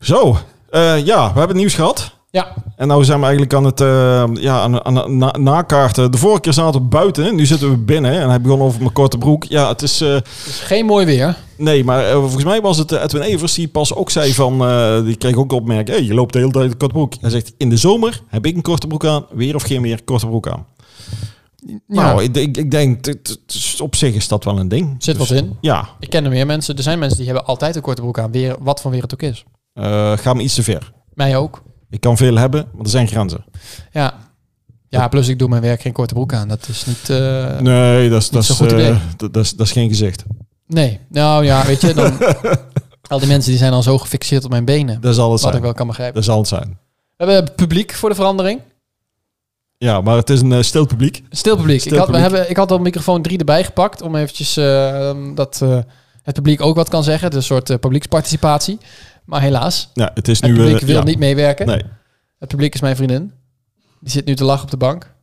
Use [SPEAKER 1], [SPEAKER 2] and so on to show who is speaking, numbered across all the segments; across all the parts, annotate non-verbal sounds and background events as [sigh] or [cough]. [SPEAKER 1] Zo, eh, ja, we hebben nieuws gehad.
[SPEAKER 2] Ja,
[SPEAKER 1] En nou zijn we eigenlijk aan het eh, ja, aan, aan, aan- na- nakaarten. De vorige keer zaten we buiten, nu zitten we binnen. En hij begon over mijn korte broek. Ja, het is... eh,
[SPEAKER 2] dus geen mooi weer.
[SPEAKER 1] nee, maar eh, volgens mij was het eh, Edwin Evers die pas ook zei van... eh, die kreeg ook opmerking, hey, je loopt de hele tijd in een korte broek. Hij zegt, in de zomer heb ik een korte broek aan. Weer of geen weer, korte broek aan. Nou, ik, ik, ik denk, het- het is- op zich is dat wel een ding.
[SPEAKER 2] Zit
[SPEAKER 1] Dus-
[SPEAKER 2] wat in.
[SPEAKER 1] Ja,
[SPEAKER 2] Ik ken er meer mensen. Er zijn mensen die hebben altijd een korte broek aan, weer, wat voor weer het ook is.
[SPEAKER 1] eh, ga me iets te ver.
[SPEAKER 2] Mij ook.
[SPEAKER 1] Ik kan veel hebben, maar er zijn grenzen.
[SPEAKER 2] Ja. Ja, plus ik doe mijn werk geen korte broek aan. Dat is niet... eh,
[SPEAKER 1] Nee, dat is, dat,
[SPEAKER 2] zo'n
[SPEAKER 1] is,
[SPEAKER 2] goed
[SPEAKER 1] eh,
[SPEAKER 2] idee.
[SPEAKER 1] dat, dat is, dat is geen gezicht.
[SPEAKER 2] Nee. Nou ja, weet
[SPEAKER 1] [laughs]
[SPEAKER 2] je, dan... al die mensen die zijn al zo gefixeerd op mijn benen.
[SPEAKER 1] Dat zal het
[SPEAKER 2] Wat ik
[SPEAKER 1] zijn.
[SPEAKER 2] wel kan begrijpen.
[SPEAKER 1] Dat zal het zijn.
[SPEAKER 2] We hebben publiek voor de verandering.
[SPEAKER 1] Ja, maar het is een eh, stil publiek.
[SPEAKER 2] Stil publiek.
[SPEAKER 1] Stil
[SPEAKER 2] ik, had, we
[SPEAKER 1] publiek.
[SPEAKER 2] hebben, ik had al microfoon 3 erbij gepakt om eventjes eh, dat eh, het publiek ook wat kan zeggen. Dus een soort eh, publieksparticipatie. Maar helaas,
[SPEAKER 1] Ja, het is
[SPEAKER 2] het
[SPEAKER 1] nu... eh,
[SPEAKER 2] publiek wil
[SPEAKER 1] ja.
[SPEAKER 2] niet meewerken.
[SPEAKER 1] Nee.
[SPEAKER 2] Het publiek is mijn vriendin. Die zit nu te lachen op de bank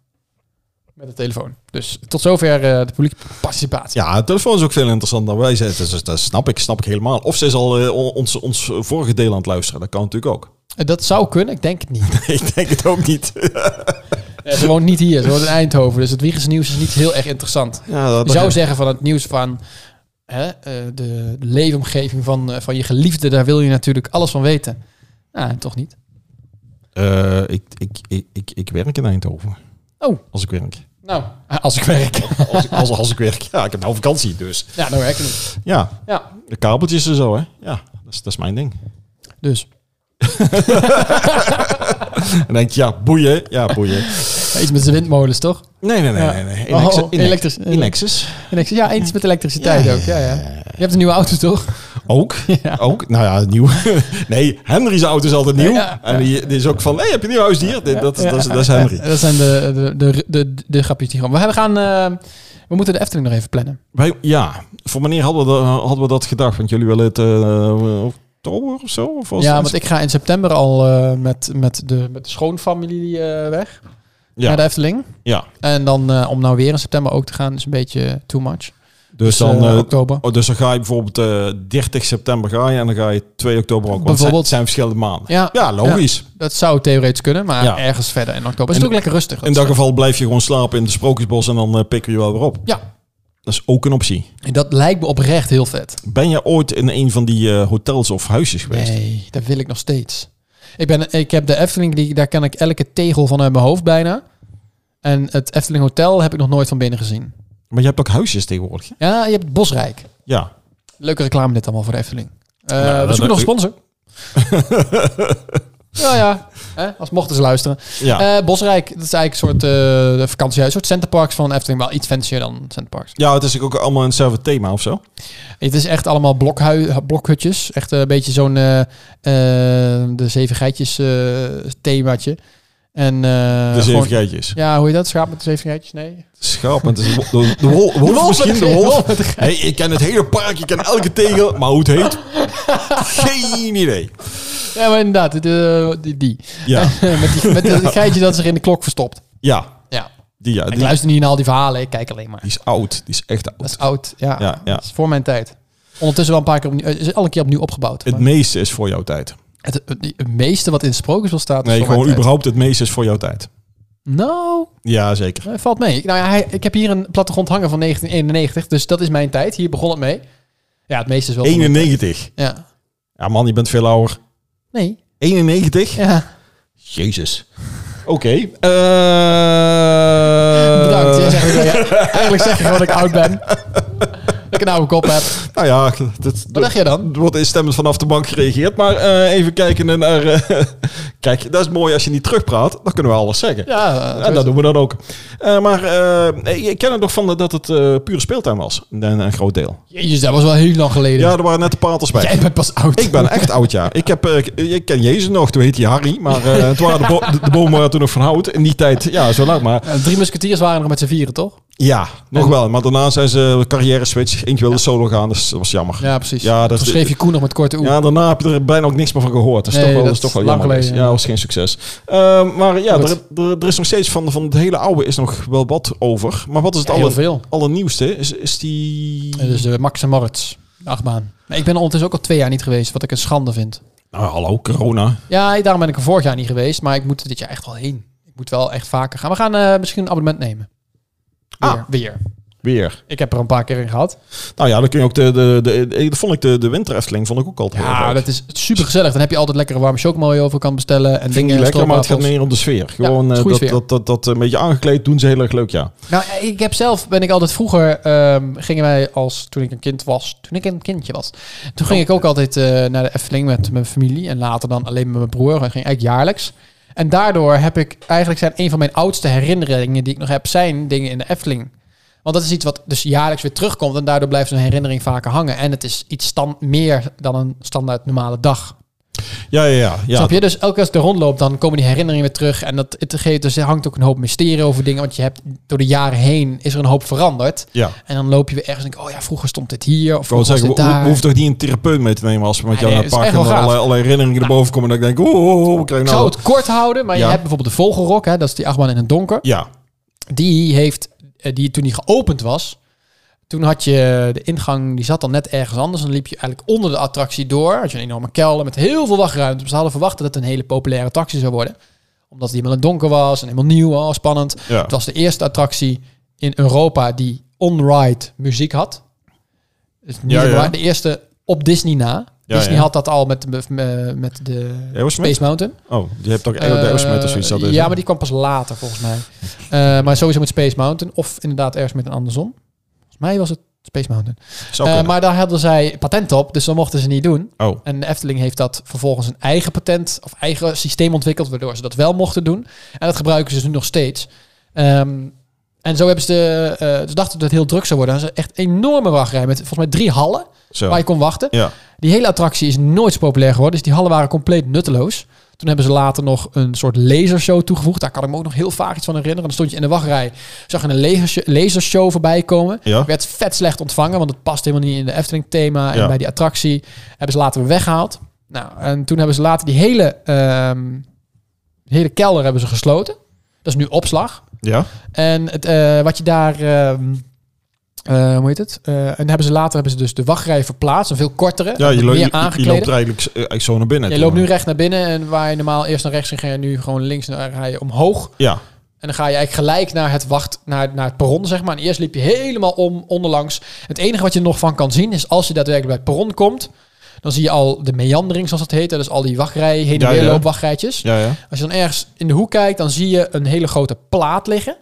[SPEAKER 2] met de telefoon. Dus tot zover eh, de publieksparticipatie.
[SPEAKER 1] Ja, de telefoon is ook veel interessanter dan wij zijn. Dus dat snap ik, snap ik helemaal. Of ze is al eh, on- ons, ons vorige deel aan het luisteren. Dat kan natuurlijk ook. [laughs]
[SPEAKER 2] Eh, Dat zou kunnen, ik denk het [laughs] niet.
[SPEAKER 1] ik denk het ook niet.
[SPEAKER 2] Eh, Ze woont niet hier, ze woont in Eindhoven. Dus het Wiegers nieuws is niet heel erg interessant.
[SPEAKER 1] ja,
[SPEAKER 2] Je zou zeggen van het nieuws van hè, eh, de leefomgeving van, eh, van je geliefde, daar wil je natuurlijk alles van weten. Nou, toch niet.
[SPEAKER 1] Eh, ik, ik, ik, ik, ik werk in Eindhoven.
[SPEAKER 2] Oh.
[SPEAKER 1] Als ik werk.
[SPEAKER 2] Nou, als ik werk.
[SPEAKER 1] Als, ik- als, als ik werk. Ja, ik heb nou vakantie dus.
[SPEAKER 2] [laughs] ja, nou werk ik niet.
[SPEAKER 1] Ja,
[SPEAKER 2] Ja,
[SPEAKER 1] de kabeltjes en zo hè. Ja, dat is, dat is mijn ding.
[SPEAKER 2] dus.
[SPEAKER 1] En dan denk je, ja, boeien. Ja, boeien.
[SPEAKER 2] Iets met de windmolens, toch?
[SPEAKER 1] Nee, nee, nee.
[SPEAKER 2] Ja.
[SPEAKER 1] nee, nee.
[SPEAKER 2] Oh,
[SPEAKER 1] Inex- Inex-
[SPEAKER 2] elektrisch-
[SPEAKER 1] Inexus.
[SPEAKER 2] En ik zeg, ja, iets met elektriciteit ook. Ja, ja. Je hebt een nieuwe auto, toch? [laughs]
[SPEAKER 1] Ook.
[SPEAKER 2] Ja.
[SPEAKER 1] Ook. Nou ja, nieuw. [laughs] nee, Henry's auto is altijd nieuw.
[SPEAKER 2] Ja.
[SPEAKER 1] En die, die is ook van, hey, heb je een nieuw huisdier? Dit- Dat, dat, is- dat is Henry.
[SPEAKER 2] Ja, dat zijn de, de, de, de, de, grapjes die gewoon... We gaan... eh, we moeten de Efteling nog even plannen.
[SPEAKER 1] Wij, ja, voor wanneer hadden we, dat, hadden we dat gedacht? Want jullie willen het eh, oktober of zo? Of was
[SPEAKER 2] ja,
[SPEAKER 1] het-
[SPEAKER 2] want ik ga in september al eh, met, met, de, met de schoonfamilie eh, weg.
[SPEAKER 1] Ja.
[SPEAKER 2] Naar de Efteling.
[SPEAKER 1] Ja,
[SPEAKER 2] En dan eh, om nou weer in september ook te gaan is een beetje too much.
[SPEAKER 1] dus dan...
[SPEAKER 2] eh,
[SPEAKER 1] eh,
[SPEAKER 2] oktober.
[SPEAKER 1] oh, dus dan ga je bijvoorbeeld eh 30 september ga je en dan ga je 2 oktober ook. Want het zijn-
[SPEAKER 2] Bijvoorbeeld.
[SPEAKER 1] het zijn verschillende maanden.
[SPEAKER 2] Ja,
[SPEAKER 1] Ja, logisch.
[SPEAKER 2] dat zou theoretisch kunnen, maar
[SPEAKER 1] Ja.
[SPEAKER 2] ergens verder in oktober. Is
[SPEAKER 1] In-
[SPEAKER 2] het ook lekker rustig.
[SPEAKER 1] In dat
[SPEAKER 2] is-
[SPEAKER 1] geval blijf je gewoon slapen in de Sprookjesbos en dan eh, pikken we je wel weer op.
[SPEAKER 2] Ja,
[SPEAKER 1] Dat is ook een optie.
[SPEAKER 2] En dat lijkt me oprecht heel vet.
[SPEAKER 1] Ben je ooit in een van die eh, hotels of huisjes geweest?
[SPEAKER 2] Nee, dat wil ik nog steeds. Ik, ben, ik heb de Efteling, die, daar ken ik elke tegel van uit mijn hoofd bijna. En het Efteling Hotel heb ik nog nooit van binnen gezien.
[SPEAKER 1] Maar je hebt ook huisjes tegenwoordig. hè?
[SPEAKER 2] Ja, je hebt het Bosrijk.
[SPEAKER 1] Ja.
[SPEAKER 2] Leuke reclame dit allemaal voor de Efteling. Eh
[SPEAKER 1] Nou,
[SPEAKER 2] we
[SPEAKER 1] dat-
[SPEAKER 2] zoeken nog een sponsor.
[SPEAKER 1] [laughs]
[SPEAKER 2] ja, ja. Hè, als mochten ze luisteren.
[SPEAKER 1] Ja.
[SPEAKER 2] Eh, Bosrijk, dat is eigenlijk een soort eh vakantiehuis. Een soort centerparks van Efteling. Wel iets fancier dan centerparks.
[SPEAKER 1] ja, het is ook allemaal hetzelfde thema of
[SPEAKER 2] eh,
[SPEAKER 1] zo.
[SPEAKER 2] Het is echt allemaal blokhui- blokhutjes. Echt een beetje zo'n eh, eh, de zeven geitjes eh, themaatje. En, eh,
[SPEAKER 1] de
[SPEAKER 2] gewoon-
[SPEAKER 1] zeven geitjes.
[SPEAKER 2] Ja, hoe heet dat? Schaap met de zeven geitjes? Nee.
[SPEAKER 1] Schaap, want het is de, de, de
[SPEAKER 2] [laughs]
[SPEAKER 1] wol- wolf misschien, de wolf.
[SPEAKER 2] met de ge-
[SPEAKER 1] Hey, ik ken het hele park, ik ken elke tegel, maar hoe het heet? Geen idee.
[SPEAKER 2] Ja, maar inderdaad. de- die, die.
[SPEAKER 1] [laughs] Ja,
[SPEAKER 2] [laughs] met die, met dat geitje dat zich in de klok verstopt.
[SPEAKER 1] ja,
[SPEAKER 2] Ja.
[SPEAKER 1] die, ja,
[SPEAKER 2] Ik
[SPEAKER 1] die,
[SPEAKER 2] luister niet naar al die verhalen. Ik kijk alleen maar.
[SPEAKER 1] die is oud. Die is echt
[SPEAKER 2] Dat
[SPEAKER 1] oud.
[SPEAKER 2] is oud. Ja.
[SPEAKER 1] Ja, ja.
[SPEAKER 2] Dat is voor mijn tijd. Ondertussen wel een paar keer opnieuw. eh, Is al een keer opnieuw opgebouwd.
[SPEAKER 1] Het
[SPEAKER 2] maar
[SPEAKER 1] meeste is voor jouw tijd.
[SPEAKER 2] Het, het, het meeste wat in de sprookjesbos staat. is
[SPEAKER 1] Nee,
[SPEAKER 2] voor mijn
[SPEAKER 1] gewoon
[SPEAKER 2] tijd.
[SPEAKER 1] überhaupt het meeste is voor jouw tijd.
[SPEAKER 2] Nou,
[SPEAKER 1] Ja, zeker.
[SPEAKER 2] Eh, Valt mee. Ik- Nou ja, hij, ik heb hier een plattegrond hangen van 1991, dus dat is mijn tijd. Hier begon het mee. Ja, het meeste is wel... van mijn-
[SPEAKER 1] 91.
[SPEAKER 2] Ja.
[SPEAKER 1] Ja man, je bent veel ouder.
[SPEAKER 2] Nee.
[SPEAKER 1] 91?
[SPEAKER 2] Ja.
[SPEAKER 1] Jezus. Oké. eh,
[SPEAKER 2] Bedankt. Jij zegt ook wel, ja. Eigenlijk zeg je gewoon dat ik oud
[SPEAKER 1] [laughs]
[SPEAKER 2] ben. Dat ik een oude kop heb.
[SPEAKER 1] Nou ja, dat,
[SPEAKER 2] Wat dacht jij dan?
[SPEAKER 1] Er wordt instemmend vanaf de bank gereageerd. Maar eh, even kijken naar... eh, [laughs] kijk, dat is mooi als je niet terugpraat. Dan kunnen we alles zeggen.
[SPEAKER 2] Ja,
[SPEAKER 1] en dat doen we dan ook. Eh, maar eh, ik ken het nog van dat het eh, pure speeltuin was. Een, een groot deel.
[SPEAKER 2] Jezus, dat was wel heel lang geleden.
[SPEAKER 1] Ja, er waren net de paters bij.
[SPEAKER 2] jij bent pas oud.
[SPEAKER 1] Ik ben echt oud, ja. Ik, heb, eh, ik- ik ken Jezus nog, toen heet hij Harry. Maar eh, het waren de, bo- de- de bomen waren toen nog van hout. In die tijd, ja, zo lang maar.
[SPEAKER 2] Ja, de drie musketiers waren er met z'n vieren, toch?
[SPEAKER 1] Ja, nog wel. Maar daarna zijn ze carrière switch. Eentje wilde solo gaan, dus dat was jammer.
[SPEAKER 2] Ja, precies.
[SPEAKER 1] Ja, dat-
[SPEAKER 2] Toen schreef je Koen nog met korte oe.
[SPEAKER 1] Ja, daarna heb je er bijna ook niks meer van gehoord. Dat is
[SPEAKER 2] Nee,
[SPEAKER 1] toch wel,
[SPEAKER 2] dat
[SPEAKER 1] dat is toch wel
[SPEAKER 2] is lang
[SPEAKER 1] jammer. geweest.
[SPEAKER 2] geleden,
[SPEAKER 1] Ja, was geen succes. Ehm, maar ja,
[SPEAKER 2] Goed.
[SPEAKER 1] er, er, er is nog steeds van, van het hele oude is nog wel wat over. Maar wat is het
[SPEAKER 2] Ja, heel
[SPEAKER 1] aller,
[SPEAKER 2] veel. dus-
[SPEAKER 1] allernieuwste? Is, is die...
[SPEAKER 2] Eh, Dus de Max en Moritz. De achtbaan. Maar ik ben er ondertussen ook al twee jaar niet geweest, wat ik een schande vind.
[SPEAKER 1] Nou, hallo, corona.
[SPEAKER 2] Ja, daarom ben ik er vorig jaar niet geweest. Maar ik moet er dit jaar echt wel heen. Ik moet wel echt vaker gaan. We gaan eh, misschien een abonnement nemen. Weer,
[SPEAKER 1] Ah.
[SPEAKER 2] weer.
[SPEAKER 1] Weer.
[SPEAKER 2] Ik heb er een paar keer in gehad.
[SPEAKER 1] Nou ja, dan kun je ook de... de, de, de- dat vond ik de, de winter Efteling vond ik ook altijd heel
[SPEAKER 2] Ja,
[SPEAKER 1] leuk.
[SPEAKER 2] Ah, dat is super gezellig. Dan heb je altijd lekkere warme chocomel over kan bestellen. En
[SPEAKER 1] Vind ik
[SPEAKER 2] dingen
[SPEAKER 1] niet lekker, maar het gaat
[SPEAKER 2] stroopwafels.
[SPEAKER 1] meer om de sfeer. Gewoon
[SPEAKER 2] het is
[SPEAKER 1] eh,
[SPEAKER 2] goede
[SPEAKER 1] dat,
[SPEAKER 2] sfeer.
[SPEAKER 1] dat, dat, dat een beetje aangekleed doen ze heel erg leuk, ja.
[SPEAKER 2] Nou, ik heb zelf, ben ik altijd vroeger, ehm, gingen wij als, toen ik een kind was, toen ik een kindje was, toen ging ik ook altijd eh, naar de Efteling met mijn familie en later dan alleen met mijn broer. Dat ging eigenlijk jaarlijks. En daardoor heb ik, eigenlijk zijn een van mijn oudste herinneringen die ik nog heb, zijn dingen in de Efteling. Want dat is iets wat dus jaarlijks weer terugkomt en daardoor blijft zo'n herinnering vaker hangen. En het is iets stand, meer dan een standaard normale dag.
[SPEAKER 1] Ja, ja, ja. ja.
[SPEAKER 2] Snap je? Dus elke keer als ik er rondloop, dan komen die herinneringen weer terug. En dat, het geeft, dus er hangt ook een hoop mysterie over dingen. Want je hebt door de jaren heen is er een hoop veranderd.
[SPEAKER 1] Ja.
[SPEAKER 2] En dan loop je weer ergens en denk ik, oh ja, vroeger stond dit hier. Of
[SPEAKER 1] Ik wou
[SPEAKER 2] vroeger
[SPEAKER 1] zeggen,
[SPEAKER 2] was
[SPEAKER 1] we,
[SPEAKER 2] dit
[SPEAKER 1] we-
[SPEAKER 2] daar. Ah,
[SPEAKER 1] we hoeven toch niet een therapeut mee te nemen als we met
[SPEAKER 2] Nee,
[SPEAKER 1] jou naar
[SPEAKER 2] nee,
[SPEAKER 1] het
[SPEAKER 2] dat is
[SPEAKER 1] park
[SPEAKER 2] echt
[SPEAKER 1] gaan en
[SPEAKER 2] wel gaaf.
[SPEAKER 1] alle, alle herinneringen erboven komen. Dat ik denk, oh, oh, oh, wat krijg
[SPEAKER 2] ik
[SPEAKER 1] ik
[SPEAKER 2] zou
[SPEAKER 1] nou?
[SPEAKER 2] het kort houden, maar je
[SPEAKER 1] Ja.
[SPEAKER 2] hebt bijvoorbeeld de Vogelrok. Hè, dat is die achtbaan in het donker.
[SPEAKER 1] Ja,
[SPEAKER 2] Die heeft, eh, die toen die geopend was... Toen had je de ingang, die zat dan net ergens anders. Dan liep je eigenlijk onder de attractie door. Had je een enorme kelder met heel veel wachtruimte. Ze hadden verwacht dat het een hele populaire attractie zou worden. Omdat die helemaal in het donker was en helemaal nieuw was, spannend.
[SPEAKER 1] ja.
[SPEAKER 2] Het was de eerste attractie in Europa die on-ride muziek had. Dus niet
[SPEAKER 1] Ja,
[SPEAKER 2] een
[SPEAKER 1] ja.
[SPEAKER 2] ride, De eerste op Disney na.
[SPEAKER 1] Ja,
[SPEAKER 2] Disney
[SPEAKER 1] ja.
[SPEAKER 2] had dat al met, de- met de
[SPEAKER 1] Aerosmith?
[SPEAKER 2] Space Mountain.
[SPEAKER 1] Oh, je hebt ook Aero Dash met of zoiets. dus. dat
[SPEAKER 2] Eh,
[SPEAKER 1] is,
[SPEAKER 2] ja,
[SPEAKER 1] hè?
[SPEAKER 2] maar die kwam pas later volgens mij. Eh, maar sowieso met Space Mountain. Of inderdaad ergens met een andersom. Volgens mij was het Space Mountain.
[SPEAKER 1] Zou
[SPEAKER 2] Eh,
[SPEAKER 1] kunnen.
[SPEAKER 2] maar daar hadden zij patent op, dus dat mochten ze niet doen.
[SPEAKER 1] Oh,
[SPEAKER 2] En de Efteling heeft dat vervolgens een eigen patent of eigen systeem ontwikkeld, waardoor ze dat wel mochten doen. En dat gebruiken ze dus nu nog steeds. Ehm, en zo hebben ze, de, eh, ze dachten dat het heel druk zou worden. En ze hebben echt een enorme wachtrij met volgens mij drie hallen
[SPEAKER 1] zo.
[SPEAKER 2] waar je kon wachten.
[SPEAKER 1] Ja.
[SPEAKER 2] Die hele attractie is nooit zo populair geworden, dus die hallen waren compleet nutteloos. Toen hebben ze later nog een soort lasershow toegevoegd. Daar kan ik me ook nog heel vaak iets van herinneren. Dan stond je in de wachtrij, zag je een lasershow, lasershow voorbij komen.
[SPEAKER 1] Ja.
[SPEAKER 2] Werd vet slecht ontvangen, want het past helemaal niet in de Efteling thema. En
[SPEAKER 1] Ja.
[SPEAKER 2] bij die attractie hebben ze later weer weggehaald. Nou, en toen hebben ze later die hele, ehm, die hele kelder hebben ze gesloten. Dat is nu opslag.
[SPEAKER 1] Ja.
[SPEAKER 2] En het, eh, wat je daar... ehm, eh, hoe heet het? Eh, en hebben ze later hebben ze dus de wachtrij verplaatst. Een veel kortere.
[SPEAKER 1] Ja, je,
[SPEAKER 2] met
[SPEAKER 1] lo- je,
[SPEAKER 2] meer
[SPEAKER 1] je
[SPEAKER 2] aangeklede.
[SPEAKER 1] loopt er eigenlijk, eh, eigenlijk zo naar binnen.
[SPEAKER 2] Je
[SPEAKER 1] toe.
[SPEAKER 2] loopt nu recht naar binnen. En waar je normaal eerst naar rechts ging, ga je nu gewoon links naar, ga je omhoog.
[SPEAKER 1] Ja,
[SPEAKER 2] En dan ga je eigenlijk gelijk naar het wacht, naar, naar het perron, zeg maar. En eerst liep je helemaal om, onderlangs. Het enige wat je er nog van kan zien is als je daadwerkelijk bij het perron komt, dan zie je al de meandering, zoals dat heet. hè. Dus al die wachtrij, heen en
[SPEAKER 1] Ja,
[SPEAKER 2] weer
[SPEAKER 1] ja.
[SPEAKER 2] loopwachtrijtjes.
[SPEAKER 1] ja, ja.
[SPEAKER 2] Als je dan ergens in de hoek kijkt, dan zie je een hele grote plaat liggen.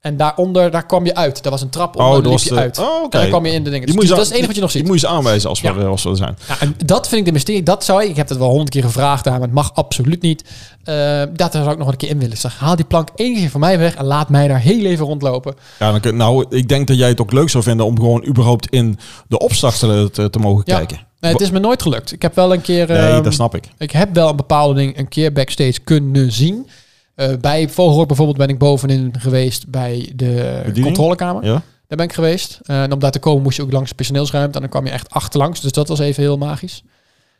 [SPEAKER 2] En daaronder, daar kwam je uit. Daar was een trap onder,
[SPEAKER 1] Oh,
[SPEAKER 2] en dan
[SPEAKER 1] dat
[SPEAKER 2] liep
[SPEAKER 1] was
[SPEAKER 2] je
[SPEAKER 1] de-
[SPEAKER 2] uit.
[SPEAKER 1] Oh,
[SPEAKER 2] En
[SPEAKER 1] oké.
[SPEAKER 2] dan kwam je in de
[SPEAKER 1] Die
[SPEAKER 2] dingen. Dus,
[SPEAKER 1] moet
[SPEAKER 2] dus
[SPEAKER 1] je
[SPEAKER 2] dat is
[SPEAKER 1] zo-
[SPEAKER 2] het enige wat je nog
[SPEAKER 1] Die
[SPEAKER 2] ziet.
[SPEAKER 1] moet je eens aanwijzen als we
[SPEAKER 2] Ja.
[SPEAKER 1] er als we er zijn.
[SPEAKER 2] Ja, en dat vind ik de mysterie. Dat zou ik, ik heb het wel honderd keer gevraagd daar, maar het mag absoluut niet. Eh, dat zou ik nog een keer in willen. Zeg, haal die plank één keer van mij weg en laat mij daar heel even rondlopen.
[SPEAKER 1] Ja, dan kun, nou, ik denk dat jij het ook leuk zou vinden om gewoon überhaupt in de opslag te, te, te mogen
[SPEAKER 2] Ja.
[SPEAKER 1] kijken.
[SPEAKER 2] Nee, het is me nooit gelukt. Ik heb wel een keer.
[SPEAKER 1] Nee,
[SPEAKER 2] ehm,
[SPEAKER 1] dat snap ik.
[SPEAKER 2] Ik heb wel een bepaalde ding een keer backstage kunnen zien. Eh, bij Vogelhoorn bijvoorbeeld ben ik bovenin geweest bij de
[SPEAKER 1] Bediening?
[SPEAKER 2] controlekamer.
[SPEAKER 1] Ja.
[SPEAKER 2] Daar ben ik geweest. Eh, en om daar te komen moest je ook langs de personeelsruimte. En dan kwam je echt achterlangs. Dus dat was even heel magisch.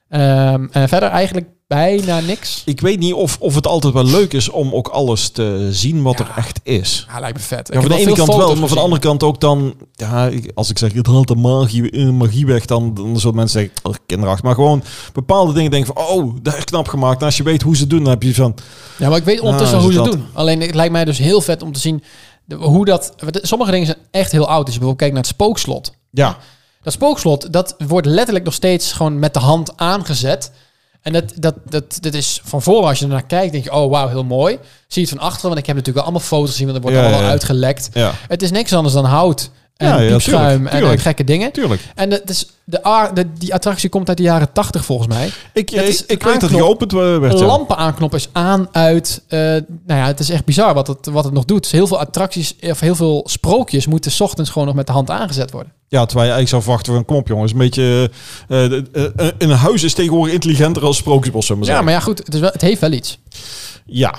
[SPEAKER 2] Ehm, en verder eigenlijk bijna niks.
[SPEAKER 1] Ik weet niet of, of het altijd wel leuk is om ook alles te zien wat er echt is.
[SPEAKER 2] Ja, lijkt me vet. Ik
[SPEAKER 1] Ja,
[SPEAKER 2] heb
[SPEAKER 1] van de
[SPEAKER 2] wel
[SPEAKER 1] ene
[SPEAKER 2] veel
[SPEAKER 1] kant wel,
[SPEAKER 2] foto's
[SPEAKER 1] maar van de andere
[SPEAKER 2] gezien.
[SPEAKER 1] kant ook dan... Ja, ik- als ik zeg, het haalt de magie, eh, magie weg, dan, dan zullen mensen zeggen, oh, kinderachtig. Maar gewoon bepaalde dingen denken van, oh, dat is knap gemaakt. En als je weet hoe ze het doen, dan heb je van...
[SPEAKER 2] Ja, maar ik weet ondertussen
[SPEAKER 1] Ah,
[SPEAKER 2] hoe
[SPEAKER 1] is
[SPEAKER 2] ze het
[SPEAKER 1] dat.
[SPEAKER 2] doen. Alleen het lijkt mij dus heel vet om te zien de- hoe dat... want de- Sommige dingen zijn echt heel oud. Dus Als je bijvoorbeeld kijkt naar het spookslot.
[SPEAKER 1] Ja,
[SPEAKER 2] Dat spookslot, dat wordt letterlijk nog steeds gewoon met de hand aangezet. En dat, dat, dat, dat is van voren, als je ernaar kijkt, denk je, oh wauw, heel mooi. Zie je het van achteren, want ik heb natuurlijk wel allemaal foto's gezien, want er wordt
[SPEAKER 1] Ja,
[SPEAKER 2] allemaal
[SPEAKER 1] ja, ja.
[SPEAKER 2] uitgelekt.
[SPEAKER 1] ja,
[SPEAKER 2] Het is niks anders dan hout en
[SPEAKER 1] Ja, ja,
[SPEAKER 2] piepschuim
[SPEAKER 1] tuurlijk,
[SPEAKER 2] en,
[SPEAKER 1] tuurlijk.
[SPEAKER 2] eh, gekke dingen.
[SPEAKER 1] tuurlijk.
[SPEAKER 2] En dat is de, aar- de, die attractie komt uit de jaren tachtig volgens mij.
[SPEAKER 1] Ik,
[SPEAKER 2] Het
[SPEAKER 1] ik,
[SPEAKER 2] is
[SPEAKER 1] ik
[SPEAKER 2] een
[SPEAKER 1] weet dat
[SPEAKER 2] aanknop.
[SPEAKER 1] die geopend eh, werd, ja.
[SPEAKER 2] Lampen aanknoppen is aan, uit. Eh, nou ja, het is echt bizar wat het, wat het nog doet. Heel veel attracties of heel veel sprookjes moeten 's ochtends gewoon nog met de hand aangezet worden.
[SPEAKER 1] Ja, terwijl je eigenlijk zou verwachten van, kom op jongens, een beetje... eh, eh, eh, eh, een huis is tegenwoordig intelligenter als Sprookjesbos, zullen we
[SPEAKER 2] Ja,
[SPEAKER 1] zeggen.
[SPEAKER 2] maar ja, goed, het, is wel, het heeft wel iets.
[SPEAKER 1] Ja.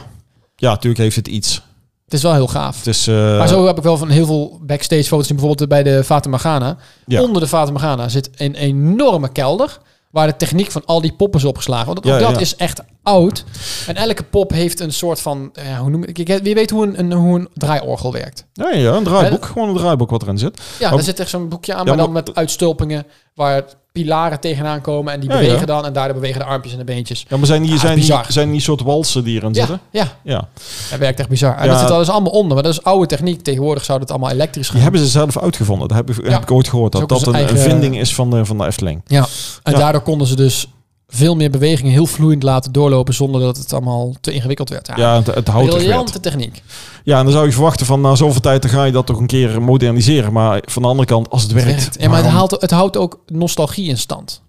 [SPEAKER 1] Ja, natuurlijk heeft het iets.
[SPEAKER 2] Het is wel heel gaaf.
[SPEAKER 1] Het is... eh,
[SPEAKER 2] maar zo heb ik wel van heel veel backstage foto's zien, bijvoorbeeld bij de Fata Ghana.
[SPEAKER 1] ja.
[SPEAKER 2] Onder de Fata Morgana zit een enorme kelder waar de techniek van al die poppen is opgeslagen. Want ook
[SPEAKER 1] Ja,
[SPEAKER 2] dat
[SPEAKER 1] ja.
[SPEAKER 2] is echt oud. En elke pop heeft een soort van, eh, hoe noem ik, ik- wie weet hoe een, een, hoe een draaiorgel werkt.
[SPEAKER 1] Ja, ja, een draaiboek. Gewoon een draaiboek wat erin zit.
[SPEAKER 2] Ja,
[SPEAKER 1] Oh.
[SPEAKER 2] daar zit echt zo'n boekje aan,
[SPEAKER 1] Ja,
[SPEAKER 2] maar dan
[SPEAKER 1] maar-
[SPEAKER 2] met uitstulpingen waar pilaren tegenaan komen en die
[SPEAKER 1] Ja, ja.
[SPEAKER 2] bewegen dan en daardoor bewegen de armpjes en de beentjes.
[SPEAKER 1] Ja, maar zijn die,
[SPEAKER 2] Ah,
[SPEAKER 1] zijn die,
[SPEAKER 2] bizar.
[SPEAKER 1] zijn die soort walsen die erin
[SPEAKER 2] Ja,
[SPEAKER 1] zitten?
[SPEAKER 2] ja,
[SPEAKER 1] Ja.
[SPEAKER 2] dat werkt echt bizar. En
[SPEAKER 1] Ja.
[SPEAKER 2] dat zit al dus allemaal onder, maar dat is oude techniek. Tegenwoordig zou dat allemaal elektrisch
[SPEAKER 1] Die
[SPEAKER 2] gaan.
[SPEAKER 1] hebben ze zelf uitgevonden. Dat heb ik, heb ik ooit gehoord.
[SPEAKER 2] Dat
[SPEAKER 1] Dat
[SPEAKER 2] is
[SPEAKER 1] dat
[SPEAKER 2] ook
[SPEAKER 1] een,
[SPEAKER 2] onze
[SPEAKER 1] een
[SPEAKER 2] eigen-
[SPEAKER 1] vinding is van de, van de Efteling.
[SPEAKER 2] En
[SPEAKER 1] Ja.
[SPEAKER 2] daardoor konden ze dus veel meer bewegingen heel vloeiend laten doorlopen zonder dat het allemaal te ingewikkeld werd. Ja,
[SPEAKER 1] Ja, het, het houdt er weer.
[SPEAKER 2] briljante techniek.
[SPEAKER 1] Ja, en dan zou je verwachten van na zoveel tijd dan ga je dat toch een keer moderniseren. Maar van de andere kant, als het werkt.
[SPEAKER 2] Werkt. Ja, maar het,
[SPEAKER 1] waarom-
[SPEAKER 2] haalt, het houdt ook nostalgie in stand.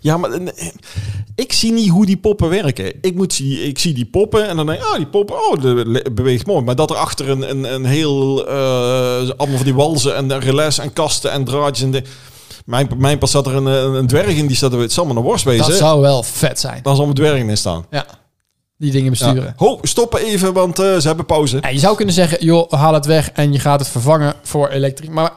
[SPEAKER 1] Ja, maar eh, ik zie niet hoe die poppen werken. Ik, moet zie, ik zie die poppen en dan denk ik, ah, die poppen, oh, de, le- beweegt mooi. Maar dat erachter een, een, een heel, eh, allemaal van die walzen en relais en kasten en draadjes en de, mijn, mijn pas zat er een, eh, een dwerg in, die staat er, het zal maar een worst wezen.
[SPEAKER 2] Dat zou wel vet zijn.
[SPEAKER 1] Dan zal mijn dwergen in staan.
[SPEAKER 2] Ja, die dingen
[SPEAKER 1] Ja.
[SPEAKER 2] besturen.
[SPEAKER 1] Ho, stoppen even, want eh, ze hebben pauze.
[SPEAKER 2] Ja, je zou kunnen zeggen, joh, haal het weg en je gaat het vervangen voor elektrisch. Maar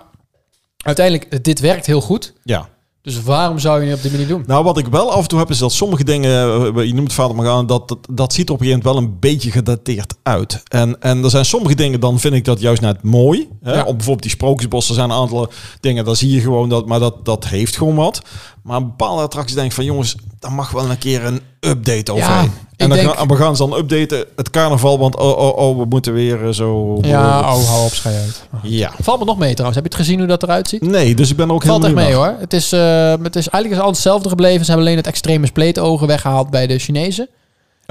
[SPEAKER 2] uiteindelijk, dit werkt heel goed.
[SPEAKER 1] Ja.
[SPEAKER 2] Dus waarom zou je het op die manier doen?
[SPEAKER 1] Nou, wat ik wel af en toe heb, is dat sommige dingen, eh, je noemt het vader maar aan, dat, dat, dat ziet er op een gegeven moment wel een beetje gedateerd uit. En, en er zijn sommige dingen, dan vind ik dat juist net mooi. Hè?
[SPEAKER 2] Ja.
[SPEAKER 1] Op bijvoorbeeld die sprookjesbossen zijn een aantal dingen, daar zie je gewoon dat, maar dat, dat heeft gewoon wat. Maar een bepaalde attracties denk ik van, jongens, daar mag wel een keer een update over.
[SPEAKER 2] Ja, ik
[SPEAKER 1] en dan
[SPEAKER 2] denk-
[SPEAKER 1] gaan, we gaan ze dan updaten, het carnaval, want oh, oh, oh, we moeten weer eh, zo...
[SPEAKER 2] oh, hou op, schei uit.
[SPEAKER 1] ja.
[SPEAKER 2] Valt me nog mee trouwens. Heb je het gezien hoe dat eruit ziet?
[SPEAKER 1] Nee, dus ik ben er ook
[SPEAKER 2] Valt echt
[SPEAKER 1] helemaal
[SPEAKER 2] mee
[SPEAKER 1] niet
[SPEAKER 2] hoor. Het is, eh, het is eigenlijk is alles hetzelfde gebleven. Ze hebben alleen het extreme spleetogen weggehaald bij de Chinezen.